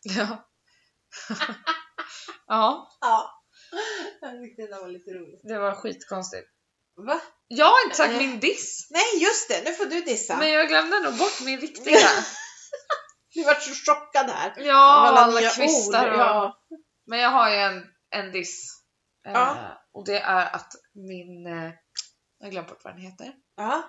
[SPEAKER 1] Ja. [laughs] ja,
[SPEAKER 2] Ja. Jag tyckte det var lite roligt.
[SPEAKER 1] det var skitkonstigt.
[SPEAKER 2] Va?
[SPEAKER 1] Jag har inte sagt min diss.
[SPEAKER 2] Nej just det, nu får du dissa.
[SPEAKER 1] Men jag glömde nog bort min riktiga.
[SPEAKER 2] Du vart så chockad här.
[SPEAKER 1] Ja,
[SPEAKER 2] Av
[SPEAKER 1] alla,
[SPEAKER 2] nya
[SPEAKER 1] kvistar
[SPEAKER 2] ord.
[SPEAKER 1] och...
[SPEAKER 2] Ja.
[SPEAKER 1] Men jag har ju en, en diss. Eh,
[SPEAKER 2] Ja.
[SPEAKER 1] och det är att min... Eh, jag har glömt bort vad den heter.
[SPEAKER 2] ja.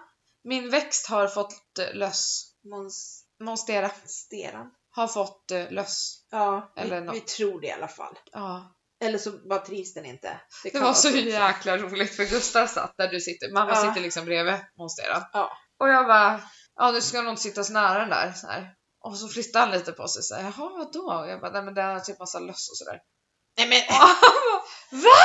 [SPEAKER 1] Min växt har fått eh, löss.
[SPEAKER 2] Monsteran.
[SPEAKER 1] Monstera har fått eh, löss.
[SPEAKER 2] Ja,
[SPEAKER 1] Eller
[SPEAKER 2] vi, vi
[SPEAKER 1] något.
[SPEAKER 2] tror det i alla fall.
[SPEAKER 1] Ja.
[SPEAKER 2] Eller så bara trivs den inte.
[SPEAKER 1] Det
[SPEAKER 2] kan
[SPEAKER 1] var
[SPEAKER 2] vara typ
[SPEAKER 1] så
[SPEAKER 2] också.
[SPEAKER 1] jäkla roligt för Gustav satt där du sitter. Mamma
[SPEAKER 2] Ja.
[SPEAKER 1] sitter liksom bredvid monstera.
[SPEAKER 2] Ja.
[SPEAKER 1] Och jag bara, ja nu ska nog inte sitta så nära den där. Så här. Och så flyttade han lite på sig så här, jaha vadå? Och jag bara, nej men den har typ massa löss och sådär.
[SPEAKER 2] Nej men
[SPEAKER 1] Och han bara, VA?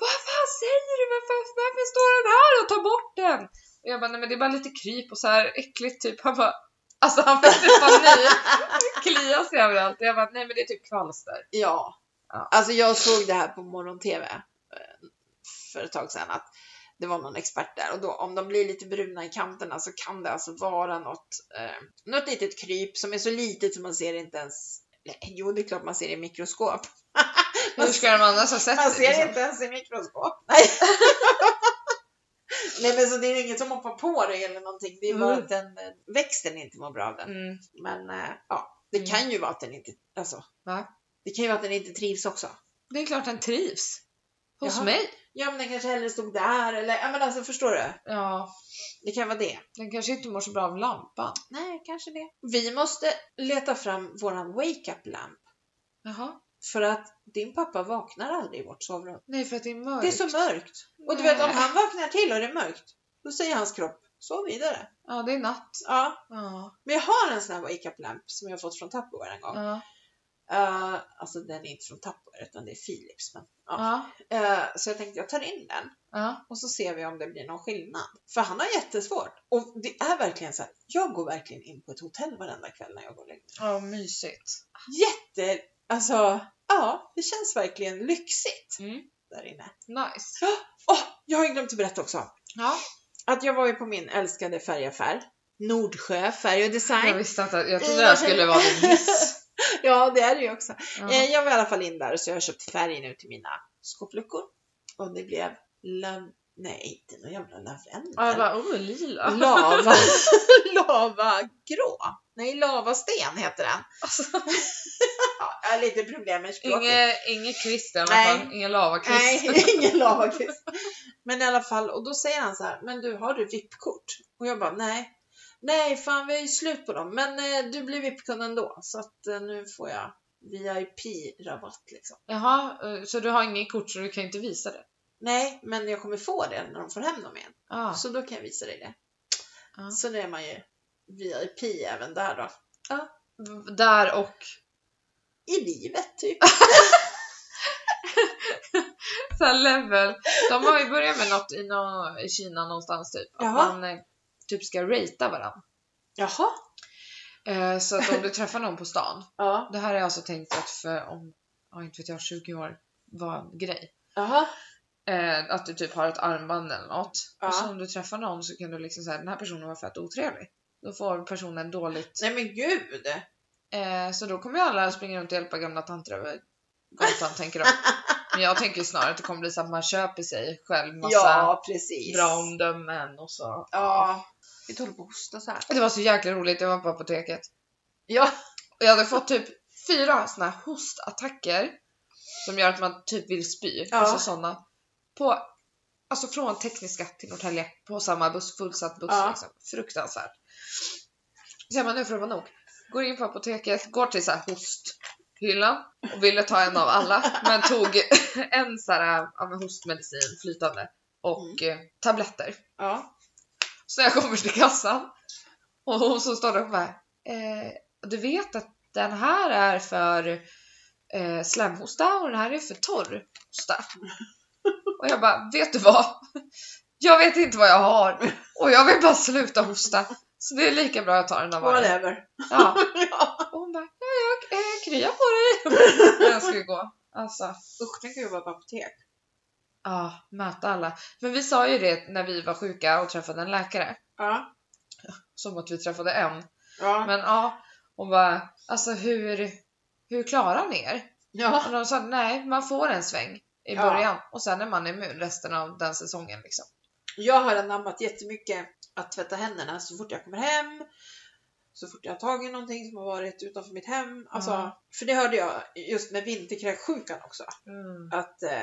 [SPEAKER 1] Vad fan säger du? Varför, varför står den här och tar bort den? Och jag bara, nej men det är bara lite kryp och så här äckligt typ. Han bara, alltså han fick typ [laughs] panik. Kliar sig överallt. Och jag bara, nej men det är typ kvalster.
[SPEAKER 2] Ja.
[SPEAKER 1] Ja.
[SPEAKER 2] Alltså jag såg det här på morgon-tv eh, för ett tag sedan att det var någon expert där och då om de blir lite bruna i kanterna så kan det alltså vara något, eh, något litet kryp som är så litet så man ser inte ens. Nej, Jo, det är klart man ser i mikroskop.
[SPEAKER 1] Hur ska de annars ha sett
[SPEAKER 2] Man ser
[SPEAKER 1] liksom?
[SPEAKER 2] inte ens i mikroskop. Nej. [laughs] Nej, men så det är inget som hoppar på dig eller någonting. Det är bara
[SPEAKER 1] Mm.
[SPEAKER 2] att den, eh, växten inte mår bra av den.
[SPEAKER 1] Mm.
[SPEAKER 2] Men eh, ja, det
[SPEAKER 1] Mm.
[SPEAKER 2] kan ju vara att den inte, alltså.
[SPEAKER 1] Va?
[SPEAKER 2] Det kan ju vara att den inte trivs också.
[SPEAKER 1] Det är klart den trivs. Hos
[SPEAKER 2] Jaha.
[SPEAKER 1] mig.
[SPEAKER 2] Ja men den kanske hellre stod där eller, ja men alltså förstår du?
[SPEAKER 1] Ja,
[SPEAKER 2] Det kan vara det.
[SPEAKER 1] den kanske inte mår så bra av lampan.
[SPEAKER 2] Nej, kanske det. Vi måste leta fram våran wake-up lamp.
[SPEAKER 1] Jaha.
[SPEAKER 2] För att din pappa vaknar aldrig i vårt sovrum.
[SPEAKER 1] Nej för att det är mörkt.
[SPEAKER 2] Det är så mörkt. Och du vet om han vaknar till och det är mörkt, då säger hans kropp sov vidare.
[SPEAKER 1] Ja det är natt.
[SPEAKER 2] Ja,
[SPEAKER 1] Ja.
[SPEAKER 2] men jag har en sån här wake-up lamp som jag har fått från Tupperware en gång.
[SPEAKER 1] Ja.
[SPEAKER 2] Eh, alltså den är inte från Tupperware utan det är Philips. Men, ja.
[SPEAKER 1] Ja.
[SPEAKER 2] Eh, så jag tänkte jag tar in den.
[SPEAKER 1] Ja.
[SPEAKER 2] och så ser vi om det blir någon skillnad. För han har jättesvårt. Och det är verkligen så här, jag går verkligen in på ett hotell varenda kväll när jag går och lägger mig.
[SPEAKER 1] Ja, mysigt.
[SPEAKER 2] Jätte, alltså, ja, det känns verkligen lyxigt
[SPEAKER 1] Mm.
[SPEAKER 2] där inne.
[SPEAKER 1] Nice.
[SPEAKER 2] Åh, jag har ju glömt att berätta också.
[SPEAKER 1] Ja.
[SPEAKER 2] Att jag var ju på min älskade färgaffär, Nordsjö Färg och
[SPEAKER 1] Jag
[SPEAKER 2] Design.
[SPEAKER 1] visste att jag trodde det här skulle vara din [laughs] hiss.
[SPEAKER 2] Ja, det är det ju också.
[SPEAKER 1] Ja.
[SPEAKER 2] Eh, Jag var i alla fall in där så jag har köpt färg nu till mina skåpluckor. Och det blev lav... Nej, inte någon jävla lavendel.
[SPEAKER 1] Och jag bara, oh lila. [laughs]
[SPEAKER 2] Lava, lavagrå. Nej, lavasten heter den.
[SPEAKER 1] Alltså,
[SPEAKER 2] [laughs] Ja, jag har lite problem med språket.
[SPEAKER 1] Inge, ingen kvist i alla
[SPEAKER 2] Nej.
[SPEAKER 1] fall. Ingen lavakvist.
[SPEAKER 2] Nej, [laughs] ingen lavakvist. Men i alla fall, och då säger han så här, men du har du VIP-kort? Och jag bara, nej. Nej, fan vi är ju slut på dem. Men eh, du blir VIP-kund ändå, så att eh, nu får jag VIP-rabatt liksom.
[SPEAKER 1] [laughs] Jaha, eh, så du har inget kort så du kan inte visa det?
[SPEAKER 2] Nej, men jag kommer få det när de får hem dem igen.
[SPEAKER 1] Ah.
[SPEAKER 2] Så då kan jag visa dig det.
[SPEAKER 1] Ja.
[SPEAKER 2] Så nu är man ju VIP även där då. Mm.
[SPEAKER 1] V- Där och... [laughs]
[SPEAKER 2] I livet typ.
[SPEAKER 1] Så här level. De har ju börjat med något i, nå- i Kina någonstans typ. Att
[SPEAKER 2] Jaha.
[SPEAKER 1] man eh, typ ska ratea varandra.
[SPEAKER 2] [laughs] Jaha.
[SPEAKER 1] Eh, så att om du träffar någon på stan.
[SPEAKER 2] Ja.
[SPEAKER 1] Det här har jag alltså tänkt att för om, ja inte vet jag, 20 år var en grej.
[SPEAKER 2] Jaha.
[SPEAKER 1] Eh, att du typ har ett armband eller något.
[SPEAKER 2] Ja.
[SPEAKER 1] Och så om du träffar någon så kan du liksom säga den här personen var fett otrevlig. Då får personen dåligt.
[SPEAKER 2] Nej men gud! [laughs]
[SPEAKER 1] Eh, så då kommer ju alla springa runt och hjälpa gamla tanter över gatan tänker de. Men jag tänker snarare att det kommer bli så att man köper sig själv massa
[SPEAKER 2] Ja, precis.
[SPEAKER 1] bra omdömen och så.
[SPEAKER 2] Ja. Vi håller på att hosta så här.
[SPEAKER 1] Det var så jäkla roligt, jag var på apoteket.
[SPEAKER 2] Ja.
[SPEAKER 1] Och jag hade fått typ fyra såna här hostattacker som gör att man typ vill spy.
[SPEAKER 2] Ja.
[SPEAKER 1] Alltså såna. På, alltså från Tekniska till Norrtälje på samma buss, fullsatt buss
[SPEAKER 2] Ja.
[SPEAKER 1] liksom. Fruktansvärt. Så jag bara, nu får det vara nog. Går in på apoteket, går till så här hosthyllan och ville ta en av alla men tog [laughs] en så här, ja, men hostmedicin flytande och
[SPEAKER 2] Mm.
[SPEAKER 1] eh, tabletter.
[SPEAKER 2] Ja.
[SPEAKER 1] Så jag kommer till kassan och hon som står där och bara eh, Du vet att den här är för eh, slemhosta och den här är för torr hosta. Och jag bara, vet du vad? Jag vet inte vad jag har och jag vill bara sluta hosta. Så det är lika bra att ta den av varje.
[SPEAKER 2] Whatever.
[SPEAKER 1] Ja. Och hon bara, ja, jag eh, kryar på dig. När jag skulle gå. Alltså.
[SPEAKER 2] Usch, tänk att jobba på apotek.
[SPEAKER 1] Ja, möta alla. Men vi sa ju det när vi var sjuka och träffade en läkare.
[SPEAKER 2] Ja.
[SPEAKER 1] Som att vi träffade en.
[SPEAKER 2] Ja.
[SPEAKER 1] Men ja, hon bara, alltså hur, hur klarar ni er?
[SPEAKER 2] ja.
[SPEAKER 1] Och de sa, nej, man får en sväng i
[SPEAKER 2] Ja.
[SPEAKER 1] början och sen är man immun resten av den säsongen liksom.
[SPEAKER 2] Jag har anammat jättemycket att tvätta händerna så fort jag kommer hem. Så fort jag har tagit någonting som har varit utanför mitt hem. Alltså,
[SPEAKER 1] Ja.
[SPEAKER 2] För det hörde jag just med vinterkräksjukan också. Att eh,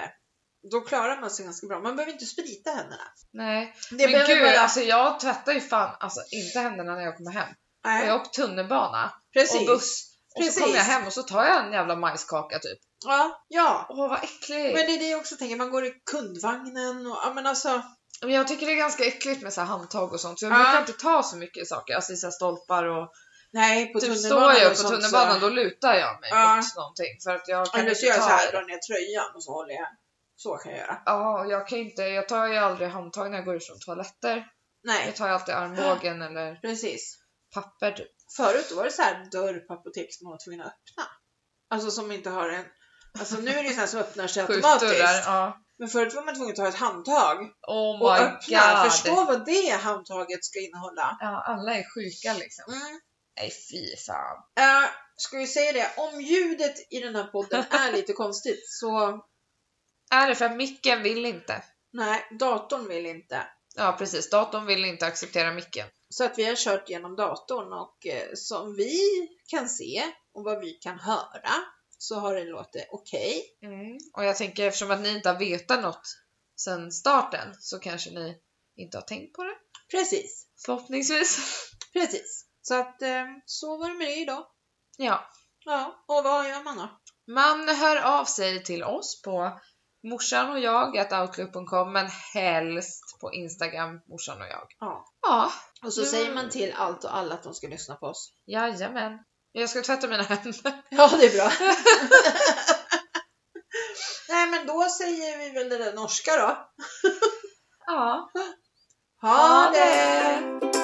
[SPEAKER 2] då klarar man sig ganska bra. Man behöver inte sprita händerna.
[SPEAKER 1] Nej,
[SPEAKER 2] Det
[SPEAKER 1] men
[SPEAKER 2] behöver
[SPEAKER 1] gud,
[SPEAKER 2] bara-
[SPEAKER 1] alltså jag tvättar ju fan alltså, inte händerna när jag kommer hem.
[SPEAKER 2] Nej,
[SPEAKER 1] Jag åker tunnelbana
[SPEAKER 2] precis.
[SPEAKER 1] och buss och
[SPEAKER 2] Precis.
[SPEAKER 1] så kommer jag hem och så tar jag en jävla majskaka typ.
[SPEAKER 2] Ja, ja.
[SPEAKER 1] Åh vad äckligt!
[SPEAKER 2] Men
[SPEAKER 1] Men,
[SPEAKER 2] det är det jag också tänker. Man går i kundvagnen och ja, men alltså.
[SPEAKER 1] jag tycker det är ganska äckligt med så här handtag och sånt så jag
[SPEAKER 2] Ja.
[SPEAKER 1] brukar inte ta så mycket saker, alltså i så här stolpar och
[SPEAKER 2] Nej, på
[SPEAKER 1] typ står
[SPEAKER 2] tunnelbanan
[SPEAKER 1] jag
[SPEAKER 2] och
[SPEAKER 1] på
[SPEAKER 2] sånt så-
[SPEAKER 1] tunnelbanan då lutar jag mig
[SPEAKER 2] Ja.
[SPEAKER 1] mot någonting för att jag kan
[SPEAKER 2] Eller
[SPEAKER 1] inte
[SPEAKER 2] så gör jag
[SPEAKER 1] ta
[SPEAKER 2] så
[SPEAKER 1] i
[SPEAKER 2] här,
[SPEAKER 1] det.
[SPEAKER 2] drar ner tröjan och så håller jag. Så kan jag göra.
[SPEAKER 1] Ja, och jag kan inte, jag tar ju aldrig handtag när jag går ut från toaletter. Jag
[SPEAKER 2] Nej,
[SPEAKER 1] tar ju alltid armbågen eller
[SPEAKER 2] precis.
[SPEAKER 1] papper typ.
[SPEAKER 2] Förut då var det så här dörr på apotek som man var tvungen att öppna. Alltså som inte har en... Alltså nu är det ju så här som öppnar sig
[SPEAKER 1] Skjutdörrar.
[SPEAKER 2] automatiskt.
[SPEAKER 1] Ja.
[SPEAKER 2] Men förut var man tvungen att ta ett handtag
[SPEAKER 1] Oh
[SPEAKER 2] och
[SPEAKER 1] my
[SPEAKER 2] öppna.
[SPEAKER 1] god.
[SPEAKER 2] Förstå vad det handtaget ska innehålla.
[SPEAKER 1] Ja, alla är sjuka liksom.
[SPEAKER 2] Mm.
[SPEAKER 1] Nej fy fan.
[SPEAKER 2] Eh, ska vi säga det, om ljudet i den här podden är lite konstigt så
[SPEAKER 1] Är det för att micken vill inte?
[SPEAKER 2] nej, datorn vill inte.
[SPEAKER 1] Ja precis, datorn vill inte acceptera micken.
[SPEAKER 2] Så att vi har kört genom datorn och eh, som vi kan se och vad vi kan höra så har det låtit okej.
[SPEAKER 1] Och jag tänker eftersom att ni inte har vetat något sedan starten så kanske ni inte har tänkt på det.
[SPEAKER 2] Precis,
[SPEAKER 1] Förhoppningsvis. [laughs]
[SPEAKER 2] precis. Så att eh, så var det med det idag.
[SPEAKER 1] Ja,
[SPEAKER 2] Ja, och vad gör man då?
[SPEAKER 1] Man hör av sig till oss på morsan och jag att outlook.com men helst på Instagram morsan och jag.
[SPEAKER 2] Ja.
[SPEAKER 1] Ja,
[SPEAKER 2] Och så
[SPEAKER 1] Mm.
[SPEAKER 2] säger man till allt och alla att de ska lyssna på oss.
[SPEAKER 1] jajamän. Jag ska tvätta mina händer.
[SPEAKER 2] Ja, det är bra. [laughs] Nej, men då säger vi väl det där norska då.
[SPEAKER 1] Ja.
[SPEAKER 2] 아, Ha det!